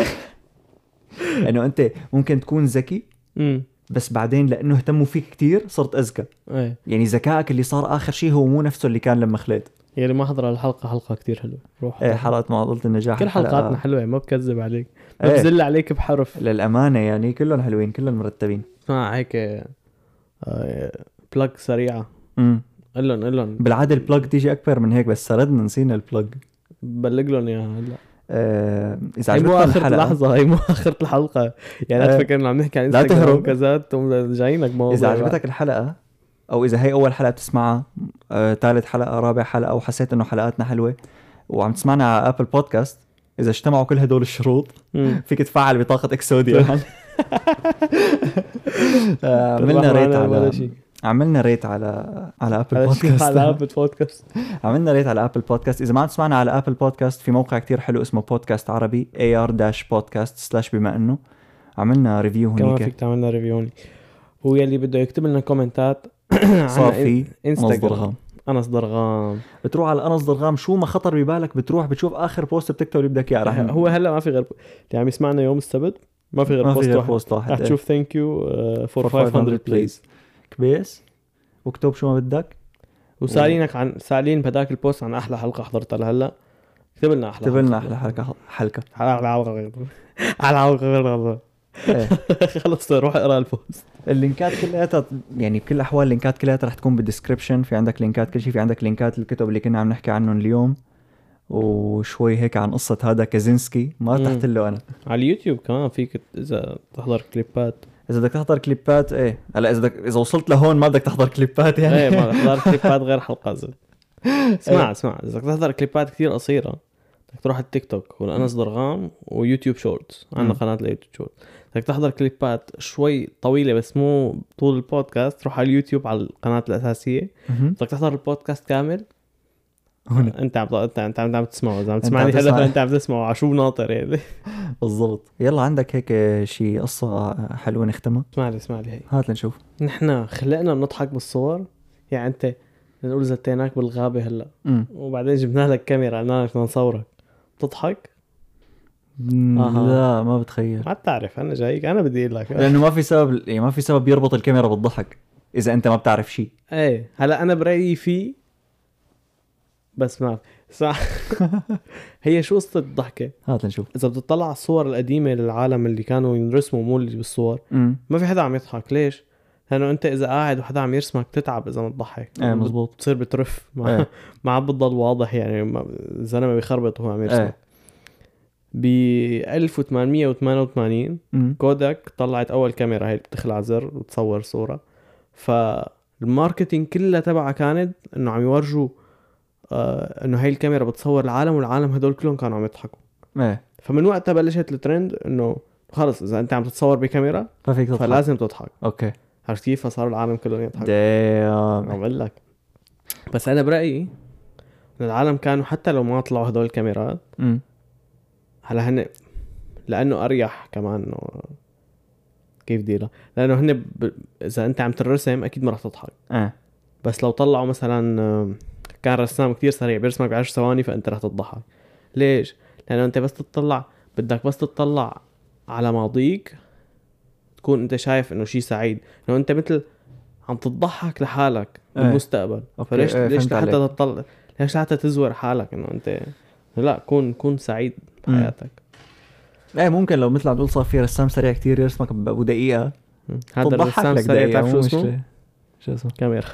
[SPEAKER 2] انه انت ممكن تكون ذكي
[SPEAKER 1] امم
[SPEAKER 2] بس بعدين لانه اهتموا فيك كتير صرت اذكى
[SPEAKER 1] ايه
[SPEAKER 2] يعني ذكائك اللي صار اخر شيء هو مو نفسه اللي كان لما خلقت
[SPEAKER 1] يلي يعني ما حضر الحلقه حلقه كتير حلوه روح
[SPEAKER 2] آه،
[SPEAKER 1] حضرها.
[SPEAKER 2] حلقه معضله النجاح
[SPEAKER 1] كل
[SPEAKER 2] الحلقة-
[SPEAKER 1] حلقاتنا حلوه يعني ما بكذب عليك ما
[SPEAKER 2] إيه.
[SPEAKER 1] بزل عليك بحرف
[SPEAKER 2] للامانه يعني كلهم حلوين كلهم مرتبين
[SPEAKER 1] اسمع هيك آه، بلاك سريعه
[SPEAKER 2] امم
[SPEAKER 1] قول لهم قول لهم
[SPEAKER 2] بالعاده البلج تيجي اكبر من هيك بس سردنا نسينا البلج
[SPEAKER 1] بلغ لهم اياها هلا
[SPEAKER 2] آه اذا
[SPEAKER 1] هي مو
[SPEAKER 2] عجبتكم
[SPEAKER 1] اخر
[SPEAKER 2] الحلقه
[SPEAKER 1] لحظه هي مو اخر الحلقه يعني لا
[SPEAKER 2] إيه.
[SPEAKER 1] تفكر انه عم نحكي عن
[SPEAKER 2] لا
[SPEAKER 1] انستغرام
[SPEAKER 2] تهرب.
[SPEAKER 1] وكذا تقوم جايينك موضوع
[SPEAKER 2] اذا عجبتك الحلقه او اذا هي اول حلقه بتسمعها آه، ثالث حلقه رابع حلقه وحسيت انه حلقاتنا حلوه وعم تسمعنا على ابل بودكاست اذا اجتمعوا كل هدول الشروط
[SPEAKER 1] مم.
[SPEAKER 2] فيك تفعل بطاقه اكسوديا يعني آه، عملنا
[SPEAKER 1] تربح
[SPEAKER 2] ريت
[SPEAKER 1] معنا ولا
[SPEAKER 2] على
[SPEAKER 1] شيء.
[SPEAKER 2] عملنا ريت على على ابل
[SPEAKER 1] على شي
[SPEAKER 2] بودكاست
[SPEAKER 1] حلقة بودكاست
[SPEAKER 2] عملنا ريت على ابل بودكاست اذا ما عم تسمعنا على ابل بودكاست في موقع كتير حلو اسمه بودكاست عربي ar-podcast/ بما انه عملنا ريفيو
[SPEAKER 1] كمان
[SPEAKER 2] هنيك
[SPEAKER 1] فيك تعمل لنا ريفيوني ويلي بده يكتب لنا كومنتات عنا إيه؟
[SPEAKER 2] صار في مصدر
[SPEAKER 1] انستغرام
[SPEAKER 2] غام
[SPEAKER 1] انس ضرغام
[SPEAKER 2] بتروح على انس ضرغام شو ما خطر ببالك بتروح بتشوف اخر بوست بتكتب اللي بدك اياه رح
[SPEAKER 1] يعني هو هلا ما في غير اللي عم يسمعنا يوم السبت ما في غير
[SPEAKER 2] ما في
[SPEAKER 1] بوست
[SPEAKER 2] غير
[SPEAKER 1] واحد
[SPEAKER 2] بوست واحد
[SPEAKER 1] رح
[SPEAKER 2] إيه.
[SPEAKER 1] تشوف آه، ثانك يو فور 500 بليز
[SPEAKER 2] كبيس واكتب شو ما بدك
[SPEAKER 1] وسالينك عن سالين بهداك البوست عن احلى حلقه حضرتها لهلا اكتب لنا احلى
[SPEAKER 2] اكتب لنا احلى حلقه حلقه
[SPEAKER 1] على على على
[SPEAKER 2] إيه.
[SPEAKER 1] خلص روح اقرا البوست
[SPEAKER 2] اللينكات كلياتها يعني بكل الاحوال اللينكات كلياتها رح تكون بالدسكربشن في عندك لينكات كل شيء في عندك لينكات الكتب اللي كنا عم نحكي عنهم اليوم وشوي هيك عن قصه هذا كازينسكي ما
[SPEAKER 1] مم.
[SPEAKER 2] ارتحت له انا
[SPEAKER 1] على اليوتيوب كمان فيك اذا تحضر كليبات
[SPEAKER 2] اذا بدك تحضر كليبات ايه هلا اذا بدك اذا وصلت لهون ما بدك تحضر كليبات يعني
[SPEAKER 1] ايه ما تحضر كليبات غير حلقه زي. اسمع اسمع اذا بدك تحضر كليبات كثير قصيره بدك تروح على التيك توك والانس ضرغام ويوتيوب شورتس
[SPEAKER 2] مم.
[SPEAKER 1] عندنا قناه ليوتيوب شورتس بدك تحضر كليبات شوي طويله بس مو طول البودكاست روح على اليوتيوب على القناه الاساسيه
[SPEAKER 2] مهم.
[SPEAKER 1] بدك تحضر البودكاست كامل
[SPEAKER 2] هون
[SPEAKER 1] انت عم انت انت عم, عم تسمعه اذا عم
[SPEAKER 2] أنت
[SPEAKER 1] تسمعني
[SPEAKER 2] عم
[SPEAKER 1] هلا
[SPEAKER 2] تسمع.
[SPEAKER 1] فانت عم تسمعه على شو ناطر يعني
[SPEAKER 2] بالضبط يلا عندك هيك شيء قصة حلوة نختمها
[SPEAKER 1] اسمع لي اسمع لي هي
[SPEAKER 2] هات لنشوف
[SPEAKER 1] نحن خلقنا بنضحك بالصور يعني انت نقول زتيناك بالغابه هلا
[SPEAKER 2] امم
[SPEAKER 1] وبعدين جبنا لك كاميرا قلنا لك بدنا نصورك بتضحك أها.
[SPEAKER 2] لا ما بتخيل
[SPEAKER 1] ما بتعرف انا جايك انا بدي اقول لك
[SPEAKER 2] لانه ما في سبب يعني ما في سبب يربط الكاميرا بالضحك اذا انت ما بتعرف شيء
[SPEAKER 1] ايه هلا انا برايي في بس ما صح هي شو قصه الضحكه
[SPEAKER 2] هات لنشوف
[SPEAKER 1] اذا بتطلع على الصور القديمه للعالم اللي كانوا ينرسموا مو اللي بالصور
[SPEAKER 2] امم
[SPEAKER 1] ما في حدا عم يضحك ليش لانه انت اذا قاعد وحدا عم يرسمك تتعب اذا ما تضحك
[SPEAKER 2] ايه مزبوط
[SPEAKER 1] بتصير بترف ما
[SPEAKER 2] إيه.
[SPEAKER 1] ما عم بتضل واضح يعني ما- الزلمه بيخربط وهو عم يرسم
[SPEAKER 2] ايه
[SPEAKER 1] ب 1888
[SPEAKER 2] أمم.
[SPEAKER 1] كوداك طلعت اول كاميرا هي اللي بتخلع زر وتصور صوره فالماركتينج كلها تبعها كانت انه عم يورجوا آه انه هاي الكاميرا بتصور العالم والعالم هدول كلهم كانوا عم يضحكوا
[SPEAKER 2] ايه
[SPEAKER 1] فمن وقتها بلشت الترند انه خلص اذا انت عم تتصور بكاميرا
[SPEAKER 2] ما فيك تضحك
[SPEAKER 1] فلازم تضحك
[SPEAKER 2] اوكي
[SPEAKER 1] عرفت كيف فصار العالم كلهم يضحكوا
[SPEAKER 2] دايم
[SPEAKER 1] عم بقول لك بس انا برايي إن العالم كانوا حتى لو ما طلعوا هدول الكاميرات
[SPEAKER 2] أمم.
[SPEAKER 1] هلا هن لانه اريح كمان انه كيف ديرها لانه هن ب... اذا انت عم ترسم اكيد ما رح تضحك
[SPEAKER 2] ايه
[SPEAKER 1] بس لو طلعوا مثلا آم، كان رسام كتير سريع بيرسمك بعشر ثواني فانت رح تضحك ليش لانه انت بس تطلع بدك بس تطلع على ماضيك تكون انت شايف انه شيء سعيد لو انت مثل عم تضحك لحالك
[SPEAKER 2] إيه.
[SPEAKER 1] بالمستقبل
[SPEAKER 2] أوكي،
[SPEAKER 1] فليش
[SPEAKER 2] إيه،
[SPEAKER 1] ليش
[SPEAKER 2] فهمت
[SPEAKER 1] حتى
[SPEAKER 2] عليك.
[SPEAKER 1] تطلع ليش حتى تزور حالك انه انت لا كون كون سعيد
[SPEAKER 2] مم.
[SPEAKER 1] بحياتك
[SPEAKER 2] ايه ممكن لو مثل عم تقول صار في رسام سريع كتير يرسمك بابو دقيقه
[SPEAKER 1] هذا
[SPEAKER 2] تضحك
[SPEAKER 1] الرسام
[SPEAKER 2] لك
[SPEAKER 1] سريع
[SPEAKER 2] دقيقة،
[SPEAKER 1] بتعرف شو
[SPEAKER 2] مو
[SPEAKER 1] اسمه؟
[SPEAKER 2] مشكلة. شو اسمه؟
[SPEAKER 1] كاميرا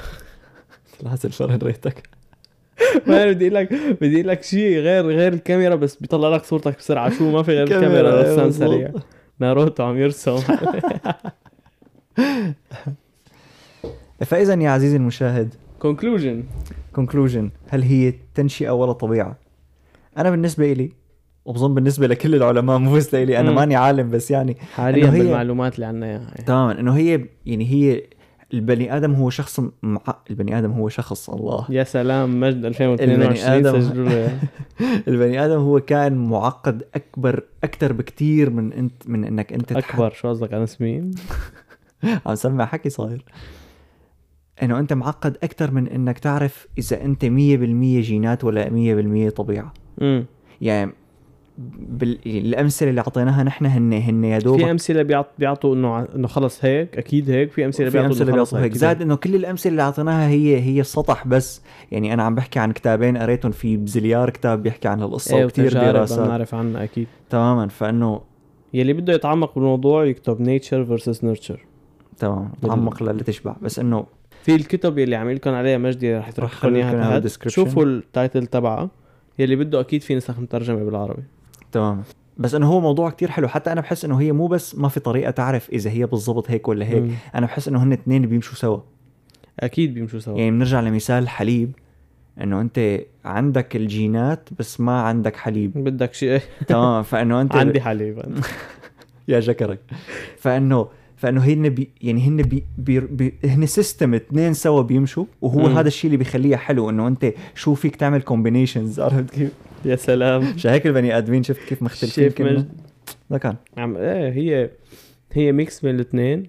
[SPEAKER 2] الحسن فرن ريتك
[SPEAKER 1] ما أنا بدي اقول لك بدي اقول لك شيء غير غير الكاميرا بس بيطلع لك صورتك بسرعه شو ما في غير الكاميرا
[SPEAKER 2] إيه،
[SPEAKER 1] رسام
[SPEAKER 2] مزبوط.
[SPEAKER 1] سريع ناروتو عم يرسم
[SPEAKER 2] فاذا يا عزيزي المشاهد
[SPEAKER 1] كونكلوجن
[SPEAKER 2] كونكلوجن هل هي تنشئه ولا طبيعه؟ انا بالنسبه إلي وبظن بالنسبه لكل العلماء مو بس لإلي انا
[SPEAKER 1] مم.
[SPEAKER 2] ماني عالم بس يعني
[SPEAKER 1] حاليا
[SPEAKER 2] إنه هي-
[SPEAKER 1] بالمعلومات اللي عنا اياها
[SPEAKER 2] تماما انه هي يعني هي البني ادم هو شخص مع... البني ادم هو شخص الله
[SPEAKER 1] يا سلام مجد 2022
[SPEAKER 2] البني آدم.
[SPEAKER 1] سجلوا له.
[SPEAKER 2] البني ادم هو كائن معقد اكبر اكثر بكتير من انت من انك انت تح-
[SPEAKER 1] اكبر شو قصدك انا سمين
[SPEAKER 2] عم سمع حكي صاير انه انت معقد اكثر من انك تعرف اذا انت 100% جينات ولا 100% طبيعه
[SPEAKER 1] أمم.
[SPEAKER 2] يعني بالامثله اللي اعطيناها نحن هن هن يا دوبك
[SPEAKER 1] في امثله بيعط- بيعطوا انه ع- انه خلص هيك اكيد هيك في امثله
[SPEAKER 2] في
[SPEAKER 1] بيعطوا
[SPEAKER 2] امثله
[SPEAKER 1] إنه خلص
[SPEAKER 2] بيعطوا هيك زائد انه كل الامثله اللي اعطيناها هي هي سطح بس يعني انا عم بحكي عن كتابين قريتهم في بزليار كتاب بيحكي عن هالقصه
[SPEAKER 1] ايه
[SPEAKER 2] وكثير
[SPEAKER 1] وتجارب
[SPEAKER 2] دراسات
[SPEAKER 1] بنعرف عنها اكيد
[SPEAKER 2] تماما فانه
[SPEAKER 1] يلي بده يتعمق بالموضوع يكتب نيتشر فيرسس نيرتشر
[SPEAKER 2] تماما تعمق للي تشبع بس انه
[SPEAKER 1] في الكتب يلي عم لكم عليها مجدي رح
[SPEAKER 2] رح
[SPEAKER 1] يترك لكم اياها
[SPEAKER 2] خلي لكم إياها
[SPEAKER 1] تحت.
[SPEAKER 2] بالديسكربشن.
[SPEAKER 1] شوفوا التايتل تبعها يلي بده اكيد في نسخ مترجمه بالعربي
[SPEAKER 2] تماما بس انه هو موضوع كتير حلو حتى انا بحس انه هي مو بس ما في طريقه تعرف اذا هي بالضبط هيك ولا هيك
[SPEAKER 1] مم.
[SPEAKER 2] انا بحس انه هن اثنين بيمشوا سوا
[SPEAKER 1] اكيد بيمشوا سوا
[SPEAKER 2] يعني بنرجع لمثال حليب انه انت عندك الجينات بس ما عندك حليب
[SPEAKER 1] بدك شيء
[SPEAKER 2] تمام فانه انت
[SPEAKER 1] عندي حليب
[SPEAKER 2] يا شكرك فانه فانه هن بي يعني هن بي بي بي هن سيستم اثنين سوا بيمشوا وهو
[SPEAKER 1] مم.
[SPEAKER 2] هذا الشيء اللي بيخليها حلو انه انت شو فيك تعمل كومبينيشنز عرفت كيف؟
[SPEAKER 1] يا سلام
[SPEAKER 2] عشان هيك البني ادمين شفت كيف مختلفين
[SPEAKER 1] شايف
[SPEAKER 2] كنا
[SPEAKER 1] مجد
[SPEAKER 2] ده كان
[SPEAKER 1] عم ايه هي هي ميكس بين الاثنين من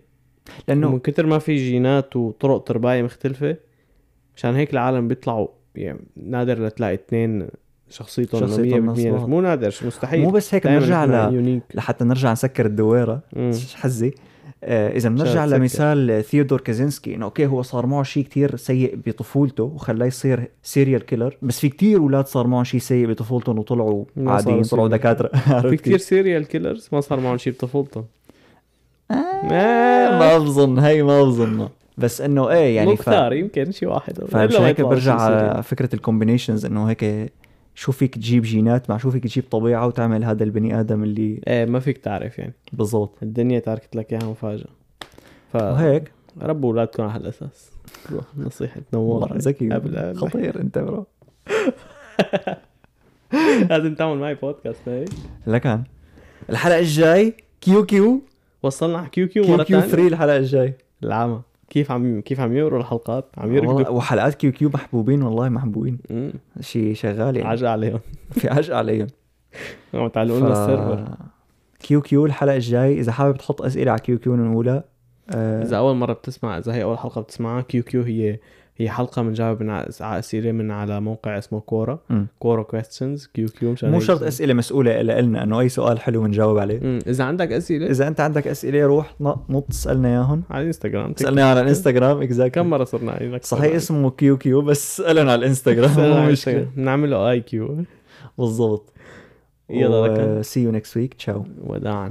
[SPEAKER 2] لانه
[SPEAKER 1] كتر ما في جينات وطرق تربايه مختلفه مشان هيك العالم بيطلعوا يعني نادر لتلاقي اثنين شخصيتهم
[SPEAKER 2] شخصيتهم
[SPEAKER 1] 100%
[SPEAKER 2] مظبوط.
[SPEAKER 1] مو نادر مستحيل
[SPEAKER 2] مو بس هيك
[SPEAKER 1] دايماً
[SPEAKER 2] بنرجع
[SPEAKER 1] نحن
[SPEAKER 2] ل...
[SPEAKER 1] يونيك
[SPEAKER 2] لحتى نرجع نسكر الدويره
[SPEAKER 1] مم.
[SPEAKER 2] حزي آه، اذا بنرجع
[SPEAKER 1] شايف سكر.
[SPEAKER 2] لمثال ثيودور كازينسكي انه اوكي هو صار معه شيء كتير سيء بطفولته وخلاه يصير سيريال كيلر بس في كتير اولاد صار معهم شيء سيء بطفولتهم وطلعوا
[SPEAKER 1] ما صاروا
[SPEAKER 2] عاديين طلعوا
[SPEAKER 1] serial.
[SPEAKER 2] دكاتره
[SPEAKER 1] في
[SPEAKER 2] عرفت
[SPEAKER 1] كثير
[SPEAKER 2] كيف؟
[SPEAKER 1] سيريال كيلرز ما صار معهم شيء بطفولتهم
[SPEAKER 2] آه، ما بظن هي ما بظن بس انه ايه
[SPEAKER 1] يعني
[SPEAKER 2] يعني
[SPEAKER 1] مختار يمكن شيء واحد
[SPEAKER 2] فمشان هيك برجع آه. على فكره الكومبينيشنز انه هيك شو فيك تجيب جينات مع شو فيك تجيب طبيعه وتعمل هذا البني ادم اللي
[SPEAKER 1] ايه ما فيك تعرف يعني
[SPEAKER 2] بالضبط
[SPEAKER 1] الدنيا تاركت لك اياها مفاجاه
[SPEAKER 2] وهيك
[SPEAKER 1] فربوا اولادكم على هالاساس روح نصيحه نوار
[SPEAKER 2] والله ذكي
[SPEAKER 1] قبل- قبل-
[SPEAKER 2] خطير انت برو
[SPEAKER 1] لازم تعمل معي إيه. بودكاست هيك
[SPEAKER 2] لكن الحلقه الجاي كيو كيو
[SPEAKER 1] وصلنا على كيو كيو
[SPEAKER 2] كيو
[SPEAKER 1] مره
[SPEAKER 2] كيو
[SPEAKER 1] ثانيه
[SPEAKER 2] 3 الحلقه الجاي
[SPEAKER 1] العمى كيف عم كيف عم يمروا الحلقات عم
[SPEAKER 2] والله-
[SPEAKER 1] يركضوا
[SPEAKER 2] وحلقات كيو كيو محبوبين والله محبوبين
[SPEAKER 1] مم.
[SPEAKER 2] شيء شغال يعني
[SPEAKER 1] عجقة عليهم
[SPEAKER 2] في عجقه عليهم
[SPEAKER 1] عم تعلقوا لنا السيرفر
[SPEAKER 2] كيو كيو الحلقه الجاي اذا حابب تحط اسئله على كيو كيو من الاولى آه
[SPEAKER 1] اذا اول مره بتسمع اذا هي اول حلقه بتسمعها كيو كيو هي هي حلقه بنجاوب من ع- على اسئله من على موقع اسمه كورا
[SPEAKER 2] مم.
[SPEAKER 1] كورا كويستشنز كيو كيو مشان
[SPEAKER 2] مو
[SPEAKER 1] هيك
[SPEAKER 2] شرط
[SPEAKER 1] اسمه.
[SPEAKER 2] اسئله مسؤوله لنا انه اي سؤال حلو بنجاوب عليه
[SPEAKER 1] مم. اذا عندك اسئله
[SPEAKER 2] اذا انت عندك اسئله روح نط نط سالنا اياهم
[SPEAKER 1] على الانستغرام
[SPEAKER 2] سالنا على الانستغرام
[SPEAKER 1] كم
[SPEAKER 2] اكزاكتلي
[SPEAKER 1] مره صرنا عليك
[SPEAKER 2] صحيح اسمه كيو كيو بس سالنا على الانستغرام مو مشكله
[SPEAKER 1] بنعمل له اي كيو
[SPEAKER 2] بالضبط
[SPEAKER 1] يلا لك.
[SPEAKER 2] سي يو نكست ويك تشاو
[SPEAKER 1] وداعا